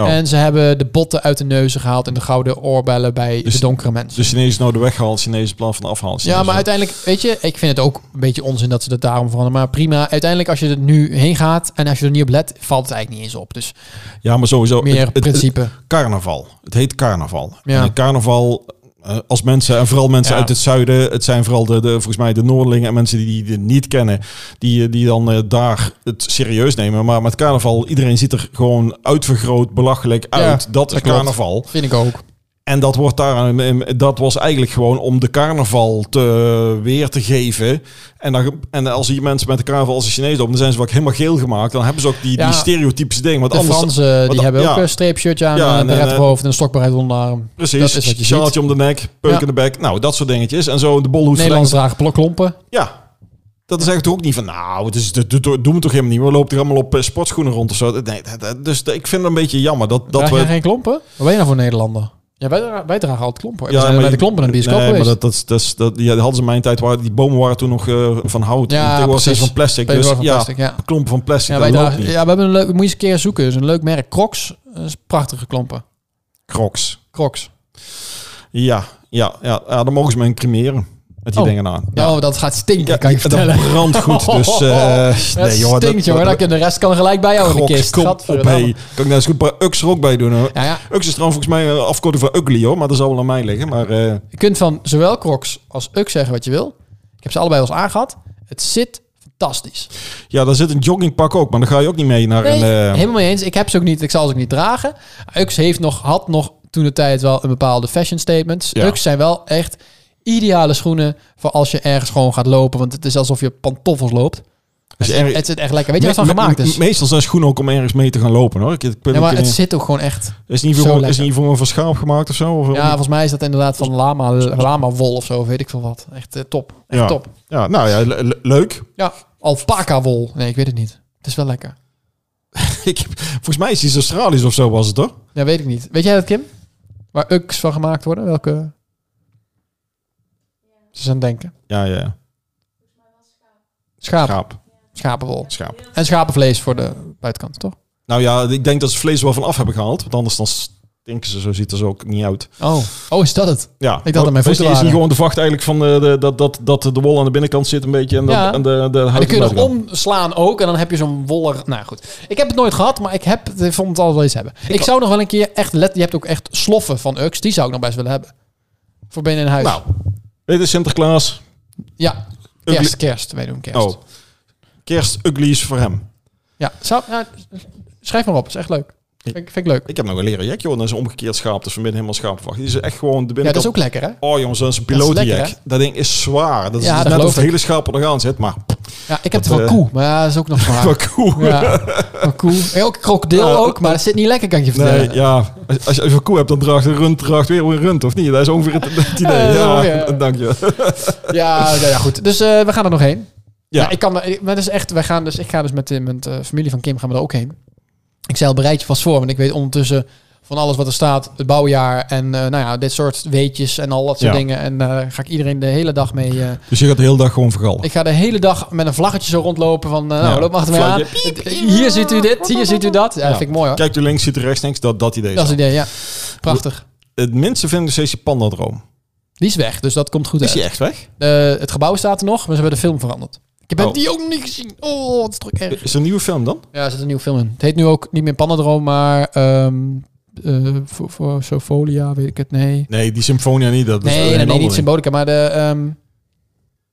[SPEAKER 1] Oh.
[SPEAKER 2] En ze hebben de botten uit de neuzen gehaald en de gouden oorbellen bij
[SPEAKER 1] Dus-
[SPEAKER 2] de donkere mensen.
[SPEAKER 1] De Chinezen nou de weg gehaald, Chinezen plan van afhalen.
[SPEAKER 2] ja, maar uiteindelijk, weet je, ik vind het ook een beetje onzin dat ze dat daarom veranderen. Maar prima, uiteindelijk als je er nu heen gaat en als je er niet op let, valt het eigenlijk niet eens op. Dus
[SPEAKER 1] ja, maar sowieso...
[SPEAKER 2] meer
[SPEAKER 1] Oh, het- het- het-
[SPEAKER 2] principe.
[SPEAKER 1] carnaval. Het heet carnaval.
[SPEAKER 2] Ja.
[SPEAKER 1] En een carnaval, eh, als mensen, en vooral mensen
[SPEAKER 2] Ja.
[SPEAKER 1] uit het zuiden, het zijn vooral de, de, volgens mij de Noordelingen en mensen die die het niet kennen, die, eh, die dan eh, daar het serieus nemen. Maar met carnaval, iedereen ziet er gewoon uitvergroot, belachelijk
[SPEAKER 2] Ja,
[SPEAKER 1] uit. dat is
[SPEAKER 2] dat klopt.
[SPEAKER 1] carnaval.
[SPEAKER 2] Vind ik ook.
[SPEAKER 1] En dat wordt daar, eh, dat was eigenlijk gewoon om de carnaval te, eh, weer te geven. En, dan, en als hier mensen met de carnaval als een Chinees lopen, dan zijn ze ook helemaal geel gemaakt. Dan hebben ze ook die,
[SPEAKER 2] Ja.
[SPEAKER 1] die stereotypische dingen. Want
[SPEAKER 2] De
[SPEAKER 1] anders,
[SPEAKER 2] Fransen die
[SPEAKER 1] want-
[SPEAKER 2] hebben ook
[SPEAKER 1] ja.
[SPEAKER 2] een streepshirtje aan,
[SPEAKER 1] Ja,
[SPEAKER 2] eh,
[SPEAKER 1] en-
[SPEAKER 2] een beret
[SPEAKER 1] en-
[SPEAKER 2] op hoofd en een stokbaarheid onderarm.
[SPEAKER 1] Precies,
[SPEAKER 2] Dat is wat je
[SPEAKER 1] sjaaltje
[SPEAKER 2] ziet.
[SPEAKER 1] om de nek, peuk
[SPEAKER 2] Ja.
[SPEAKER 1] in de bek. Nou, dat soort dingetjes. En zo de bolhoed
[SPEAKER 2] Nederlands
[SPEAKER 1] verlengt.
[SPEAKER 2] dragen plok- klompen.
[SPEAKER 1] Ja, dat is eigenlijk ook niet van, nou, het is, dat, dat- dat doen we toch helemaal niet. We lopen er allemaal op eh, sportschoenen rond of zo. Nee, dat- dat- dus dat- ik vind het een beetje jammer dat, dat
[SPEAKER 2] Draag
[SPEAKER 1] we...
[SPEAKER 2] jij geen klompen? Wat ben je nou voor Nederlander? Ja, wij, dra- wij dragen altijd klompen. we
[SPEAKER 1] maar
[SPEAKER 2] zijn bij de
[SPEAKER 1] je-
[SPEAKER 2] klompen naar de bioscoop
[SPEAKER 1] nee,
[SPEAKER 2] geweest.
[SPEAKER 1] maar dat, dat, is- dat, is- dat, ja, dat hadden ze in mijn tijd, waren, die bomen waren toen nog eh, van hout.
[SPEAKER 2] Ja,
[SPEAKER 1] en tegenwoordig zijn ze van
[SPEAKER 2] precies.
[SPEAKER 1] plastic.
[SPEAKER 2] Ben je
[SPEAKER 1] Dus
[SPEAKER 2] wel van
[SPEAKER 1] ja,
[SPEAKER 2] plastic, ja.
[SPEAKER 1] klompen van plastic,
[SPEAKER 2] Ja,
[SPEAKER 1] dat
[SPEAKER 2] wij
[SPEAKER 1] loopt
[SPEAKER 2] dragen-
[SPEAKER 1] niet.
[SPEAKER 2] ja, we hebben een leuk, moet je eens een keer zoeken. Dat is een leuk merk. Crocs. Dat is prachtige klompen.
[SPEAKER 1] Crocs.
[SPEAKER 2] Crocs.
[SPEAKER 1] Ja, ja, ja, ja, dan mogen ze me incrimeren met die
[SPEAKER 2] Oh.
[SPEAKER 1] dingen aan.
[SPEAKER 2] Ja. Oh, dat gaat stinken,
[SPEAKER 1] Ja,
[SPEAKER 2] kan je
[SPEAKER 1] dat
[SPEAKER 2] vertellen.
[SPEAKER 1] brandt goed,
[SPEAKER 2] Oh, [laughs]
[SPEAKER 1] dus... eh,
[SPEAKER 2] Dat
[SPEAKER 1] nee, joh, dat-
[SPEAKER 2] stinkt, joh.
[SPEAKER 1] dat-
[SPEAKER 2] Dan kan- De rest kan gelijk bij jou in de
[SPEAKER 1] Grok,
[SPEAKER 2] kist.
[SPEAKER 1] kom op,
[SPEAKER 2] Gadverdamme.
[SPEAKER 1] hey. Kan ik daar eens goed een paar Ux er ook bij doen? Hoor.
[SPEAKER 2] Ja, ja.
[SPEAKER 1] Ux is trouwens volgens mij eh, afkorting van ugly hoor, maar dat zal wel aan mij liggen. Maar eh,
[SPEAKER 2] Je kunt van zowel Crocs als Uk zeggen wat je wil. Ik heb ze allebei wel eens aangehad. Het zit fantastisch.
[SPEAKER 1] ja, daar zit een joggingpak ook, maar dan ga je ook niet mee naar
[SPEAKER 2] Nee,
[SPEAKER 1] een... eh,
[SPEAKER 2] helemaal mee eens. Ik heb ze ook niet. Ik zal ze ook niet dragen. Ux heeft nog, had nog toen de tijd wel een bepaalde fashion statements.
[SPEAKER 1] Ja.
[SPEAKER 2] Ux zijn wel echt ideale schoenen voor als je ergens gewoon gaat lopen. Want het is alsof je op pantoffels loopt.
[SPEAKER 1] is
[SPEAKER 2] Het,
[SPEAKER 1] erg-
[SPEAKER 2] het zit echt lekker. Weet je wat
[SPEAKER 1] me-
[SPEAKER 2] van gemaakt
[SPEAKER 1] me-
[SPEAKER 2] is?
[SPEAKER 1] Meestal zijn schoenen ook om ergens mee te gaan lopen hoor. Ik, ik, ben
[SPEAKER 2] Ja, maar
[SPEAKER 1] ook,
[SPEAKER 2] het
[SPEAKER 1] eh,
[SPEAKER 2] zit ook gewoon echt.
[SPEAKER 1] is niet
[SPEAKER 2] zo
[SPEAKER 1] voor, is
[SPEAKER 2] lekker.
[SPEAKER 1] niet voor een van schaap gemaakt of zo? Of,
[SPEAKER 2] Ja, volgens mij is dat inderdaad van lama, lama wol of zo, weet ik veel wat. Echt eh, top. Echt
[SPEAKER 1] Ja.
[SPEAKER 2] top.
[SPEAKER 1] ja, nou ja, le- le- leuk. [laughs]
[SPEAKER 2] Ja, alpaca wol. Nee, ik weet het niet. Het is wel lekker.
[SPEAKER 1] ik, heb- volgens mij is iets Australisch of zo was het hoor.
[SPEAKER 2] Ja, weet ik niet. Weet jij dat, Kim? Waar uks van gemaakt worden? Welke? Ze zijn denken.
[SPEAKER 1] Ja, ja, ja.
[SPEAKER 2] Schaap,
[SPEAKER 1] Schaap.
[SPEAKER 2] schapenwol.
[SPEAKER 1] Schaap.
[SPEAKER 2] En schapenvlees voor de buitenkant, toch?
[SPEAKER 1] Nou ja, ik denk dat ze het vlees wel van af hebben gehaald, want anders dan stinken ze, zo ziet er ze ook niet uit.
[SPEAKER 2] Oh, oh is dat het?
[SPEAKER 1] Ja.
[SPEAKER 2] Ik dacht dat
[SPEAKER 1] Dus
[SPEAKER 2] mijn voeten
[SPEAKER 1] Is niet
[SPEAKER 2] waren.
[SPEAKER 1] gewoon de vacht eigenlijk van eh, de, de, dat, dat, dat de wol aan de binnenkant zit een beetje en, dan,
[SPEAKER 2] Ja.
[SPEAKER 1] en de, de huid
[SPEAKER 2] En
[SPEAKER 1] aan
[SPEAKER 2] dan
[SPEAKER 1] de
[SPEAKER 2] kun je nog
[SPEAKER 1] buitenkant?
[SPEAKER 2] omslaan ook en dan heb je zo'n wollig... Nou goed, ik heb het nooit gehad, maar ik, heb, ik vond het altijd wel eens hebben. Ik, zou nog wel een keer echt let. Je hebt ook echt sloffen van uks, die zou ik nog best willen hebben. Voor binnen in huis.
[SPEAKER 1] Nou, dit is Sinterklaas.
[SPEAKER 2] ja,
[SPEAKER 1] Ugly-
[SPEAKER 2] kerst, kerst. Wij doen kerst.
[SPEAKER 1] Oh. Kerst uglies voor hem.
[SPEAKER 2] Ja, zou, nou, schrijf maar op, is echt leuk. Vind, ik- vind ik leuk.
[SPEAKER 1] Ik heb nog een leren jack, joh. Dat is een omgekeerd schaap. Dus van binnen helemaal schaapverwacht. Die is echt gewoon de
[SPEAKER 2] Ja, dat
[SPEAKER 1] binnenkant...
[SPEAKER 2] is ook lekker, hè?
[SPEAKER 1] Oh jongens, dat is een
[SPEAKER 2] Dat is
[SPEAKER 1] pilootjack.
[SPEAKER 2] lekker,
[SPEAKER 1] Dat,
[SPEAKER 2] hè?
[SPEAKER 1] ding is zwaar. Dat is
[SPEAKER 2] Ja,
[SPEAKER 1] dus
[SPEAKER 2] dat
[SPEAKER 1] net
[SPEAKER 2] geloof
[SPEAKER 1] of de
[SPEAKER 2] ik.
[SPEAKER 1] hele schaap er nog aan zit. Maar
[SPEAKER 2] Ja, ik heb
[SPEAKER 1] Dat,
[SPEAKER 2] er wel
[SPEAKER 1] eh,
[SPEAKER 2] koe, maar ja, dat is
[SPEAKER 1] [laughs]
[SPEAKER 2] ook nog zwaar.
[SPEAKER 1] wat cool.
[SPEAKER 2] Ja, wel koe. En ook krokodil
[SPEAKER 1] Nou,
[SPEAKER 2] ook, maar dat zit niet lekker, kan ik je vertellen.
[SPEAKER 1] Nee, ja. Als, als je een koe hebt, dan draagt een rund draagt weer een rund, of niet? Dat is ongeveer het,
[SPEAKER 2] [laughs]
[SPEAKER 1] het idee. Ja,
[SPEAKER 2] Ja, ja.
[SPEAKER 1] [laughs] dank je.
[SPEAKER 2] Ja, nou ja, goed. Dus eh, we gaan er nog heen.
[SPEAKER 1] Ja.
[SPEAKER 2] Ja. ik kan, maar dat is echt, wij gaan dus, ik ga dus met, de- met de familie van Kim gaan we er ook heen. Ik zei al, bereid je vast voor, want ik weet ondertussen van alles wat er staat, het bouwjaar en eh, nou ja, dit soort weetjes en al dat soort
[SPEAKER 1] Ja.
[SPEAKER 2] dingen. En eh, ga ik iedereen de hele dag mee. eh,
[SPEAKER 1] Dus je gaat de hele dag gewoon vergallen.
[SPEAKER 2] ik ga de hele dag met een vlaggetje zo rondlopen van, eh,
[SPEAKER 1] Ja.
[SPEAKER 2] nou, loop maar achter mij aan.
[SPEAKER 1] Vlaggetje.
[SPEAKER 2] Eh, Hier ziet u dit, hier ziet u dat. Ja,
[SPEAKER 1] Ja.
[SPEAKER 2] dat vind ik mooi hoor.
[SPEAKER 1] Kijk je links, ziet er rechts niks. Dat, dat idee.
[SPEAKER 2] Dat
[SPEAKER 1] is
[SPEAKER 2] is het idee, ja. Prachtig.
[SPEAKER 1] Het minste vind ik nog steeds die pandadroom.
[SPEAKER 2] Die is weg, dus dat komt goed
[SPEAKER 1] Is
[SPEAKER 2] uit.
[SPEAKER 1] die echt weg?
[SPEAKER 2] Eh, het gebouw staat er nog, maar ze hebben de film veranderd. Ik heb
[SPEAKER 1] Oh.
[SPEAKER 2] die ook nog niet gezien. Oh, het is toch erg.
[SPEAKER 1] Is er een nieuwe film dan?
[SPEAKER 2] Ja, er zit een nieuwe film in. Het heet nu ook niet meer Panadroom, maar ehm eh, voor, voor Sofolia, weet ik het. Nee,
[SPEAKER 1] Nee, die Symfonia niet. Dat is
[SPEAKER 2] nee,
[SPEAKER 1] een
[SPEAKER 2] nee, nee,
[SPEAKER 1] ander
[SPEAKER 2] niet
[SPEAKER 1] ding.
[SPEAKER 2] Symbolica, maar de... ehm,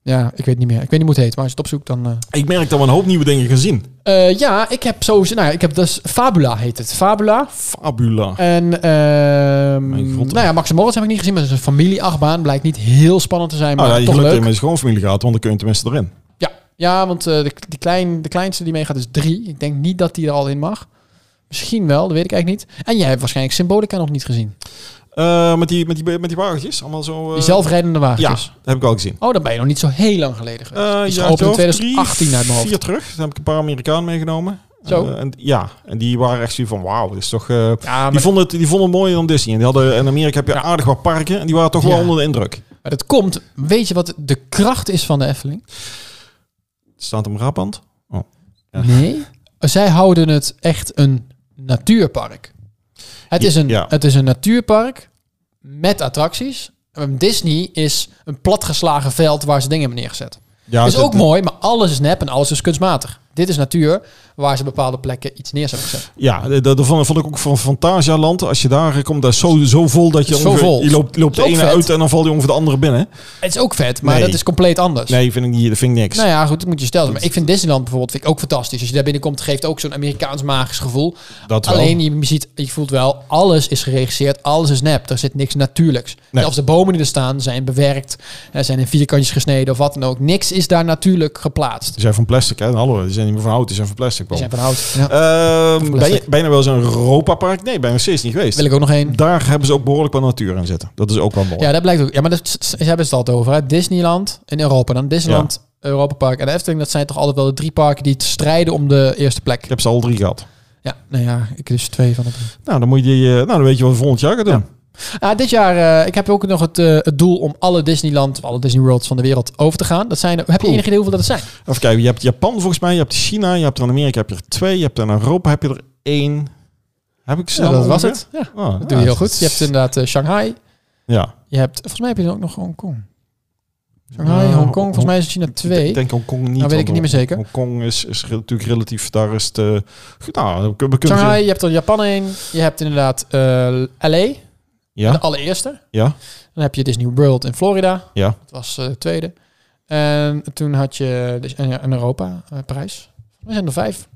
[SPEAKER 2] ja, ik weet niet meer. Ik weet niet hoe het heet, maar als je het opzoekt dan... eh.
[SPEAKER 1] Ik merk dat we een hoop nieuwe dingen gaan zien.
[SPEAKER 2] Eh, ja, ik heb sowieso... Nou ja, ik heb dus... Fabula heet het. Fabula.
[SPEAKER 1] Fabula.
[SPEAKER 2] En ehm
[SPEAKER 1] Mijn god.
[SPEAKER 2] nou ja, Max en Moritz heb ik niet gezien, maar het is een familieachtbaan. Blijkt niet heel spannend te zijn, maar
[SPEAKER 1] Nou ja, je
[SPEAKER 2] toch
[SPEAKER 1] geluk
[SPEAKER 2] leuk.
[SPEAKER 1] dat je met gewoon familie gaat, want dan kun je tenminste erin.
[SPEAKER 2] Ja, ja want eh, de, die klein, de kleinste die meegaat is drie. Ik denk niet dat die er al in mag. Misschien wel, dat weet ik eigenlijk niet. En jij hebt waarschijnlijk Symbolica nog niet gezien.
[SPEAKER 1] Eh, met, die, met, die, met die wagentjes, allemaal zo... eh,
[SPEAKER 2] Die zelfrijdende
[SPEAKER 1] Ja,
[SPEAKER 2] wagentjes.
[SPEAKER 1] dat heb ik al gezien.
[SPEAKER 2] Oh, dat ben je nog niet zo heel lang geleden geweest.
[SPEAKER 1] Eh,
[SPEAKER 2] die is
[SPEAKER 1] ja,
[SPEAKER 2] geopend in
[SPEAKER 1] ik geloof
[SPEAKER 2] 2018 uit mijn hoofd.
[SPEAKER 1] Vier terug. Daar heb ik een paar Amerikanen meegenomen.
[SPEAKER 2] Zo.
[SPEAKER 1] Eh, en, ja, en die waren echt zo van, wauw, dit is toch... eh,
[SPEAKER 2] Ja,
[SPEAKER 1] die,
[SPEAKER 2] maar,
[SPEAKER 1] vonden het, die vonden het mooier dan Disney. En die hadden, in Amerika heb je aardig wat parken. En die waren toch wel
[SPEAKER 2] Ja.
[SPEAKER 1] onder de indruk.
[SPEAKER 2] maar dat komt. Weet je wat de kracht is van de Efteling?
[SPEAKER 1] Staat hem rapand. Ja.
[SPEAKER 2] Nee. Zij houden het echt een natuurpark. Het,
[SPEAKER 1] Ja,
[SPEAKER 2] is, een,
[SPEAKER 1] ja.
[SPEAKER 2] het is een natuurpark met attracties. Um, Disney is een platgeslagen veld waar ze dingen hebben neergezet.
[SPEAKER 1] Ja,
[SPEAKER 2] is
[SPEAKER 1] dat-
[SPEAKER 2] ook mooi, maar alles is nep en alles is kunstmatig. Dit is natuur waar ze bepaalde plekken iets neer hebben gezet.
[SPEAKER 1] Ja, eh, dat, dat vond, vond ik ook van Fantasialand. Als je daar komt, dat is zo, zo vol dat je,
[SPEAKER 2] Zo
[SPEAKER 1] ongeveer-
[SPEAKER 2] vol.
[SPEAKER 1] je loopt, loopt de
[SPEAKER 2] Ook
[SPEAKER 1] ene
[SPEAKER 2] vet.
[SPEAKER 1] uit en dan valt je ongeveer de andere binnen.
[SPEAKER 2] Het is ook vet, maar
[SPEAKER 1] Nee.
[SPEAKER 2] dat is compleet anders.
[SPEAKER 1] Nee, vind ik niet. Dat vind ik niks.
[SPEAKER 2] Nou ja, goed, dat moet je stellen. Maar ik vind Disneyland bijvoorbeeld vind ik ook fantastisch. Als je daar binnenkomt, geeft ook zo'n Amerikaans magisch gevoel.
[SPEAKER 1] dat wel.
[SPEAKER 2] Alleen je, ziet, je voelt wel, alles is geregisseerd, alles is nep. Er zit niks natuurlijks.
[SPEAKER 1] Nee.
[SPEAKER 2] Zelfs de bomen die er staan zijn bewerkt, eh, zijn in vierkantjes gesneden of wat dan ook. Niks is daar natuurlijk geplaatst.
[SPEAKER 1] Die zijn van plastic, hè? Hallo, die zijn niet meer van hout, die zijn van plastic.
[SPEAKER 2] Die
[SPEAKER 1] Paul.
[SPEAKER 2] zijn van hout. Ja,
[SPEAKER 1] Ehm,
[SPEAKER 2] Van
[SPEAKER 1] ben, je,
[SPEAKER 2] plastic.
[SPEAKER 1] ben je nou wel eens in een Europa-park? Nee, ben ik nog steeds niet geweest.
[SPEAKER 2] wil ik ook nog één.
[SPEAKER 1] Daar hebben ze ook behoorlijk wat natuur in zitten. Dat is ook wel mooi.
[SPEAKER 2] Ja, dat blijkt ook. Ja, maar dat, ze hebben het altijd over. Hè? Disneyland in Europa. Dan Disneyland, Europa Park en de Efteling. Dat zijn toch altijd wel de drie parken die het strijden om de eerste plek.
[SPEAKER 1] Ik heb ze al drie gehad.
[SPEAKER 2] Ja, nou ja, ik dus twee van de drie.
[SPEAKER 1] Nou, dan moet je die, eh, nou, dan weet je wat we volgend jaar gaan doen.
[SPEAKER 2] Ah, dit jaar, eh, ik heb ook nog het, eh, het doel om alle Disneyland, alle Disney Worlds van de wereld over te gaan. Dat zijn, er- heb je
[SPEAKER 1] Oeh.
[SPEAKER 2] enig idee hoeveel dat het zijn?
[SPEAKER 1] Even kijken, je hebt Japan volgens mij, je hebt China, je hebt er in Amerika heb je er twee, je hebt er in Europa heb je er één. Heb ik ze?
[SPEAKER 2] Ja,
[SPEAKER 1] dan
[SPEAKER 2] dat was
[SPEAKER 1] ongeveer?
[SPEAKER 2] het. Ja, Ah,
[SPEAKER 1] Oh,
[SPEAKER 2] dat doe je heel goed. Je hebt inderdaad eh, Shanghai.
[SPEAKER 1] Ja.
[SPEAKER 2] Je hebt, volgens mij heb je dan ook nog Hongkong. Shanghai, Hongkong. Volgens mij is China
[SPEAKER 1] Ik
[SPEAKER 2] twee.
[SPEAKER 1] denk- denk Hongkong niet.
[SPEAKER 2] Nou, weet
[SPEAKER 1] want
[SPEAKER 2] ik het niet meer zeker.
[SPEAKER 1] Hongkong is, is re- natuurlijk relatief, daar is het... eh, goed, nou, we kunnen... we kunnen-
[SPEAKER 2] Shanghai, je hebt er Japan heen. Je hebt inderdaad eh, LA, de
[SPEAKER 1] Ja,
[SPEAKER 2] allereerste.
[SPEAKER 1] ja.
[SPEAKER 2] Dan heb je Disney World in Florida.
[SPEAKER 1] Ja.
[SPEAKER 2] Dat was eh, de tweede. En toen had je dus en- en Europa, eh Parijs. We zijn er vijf.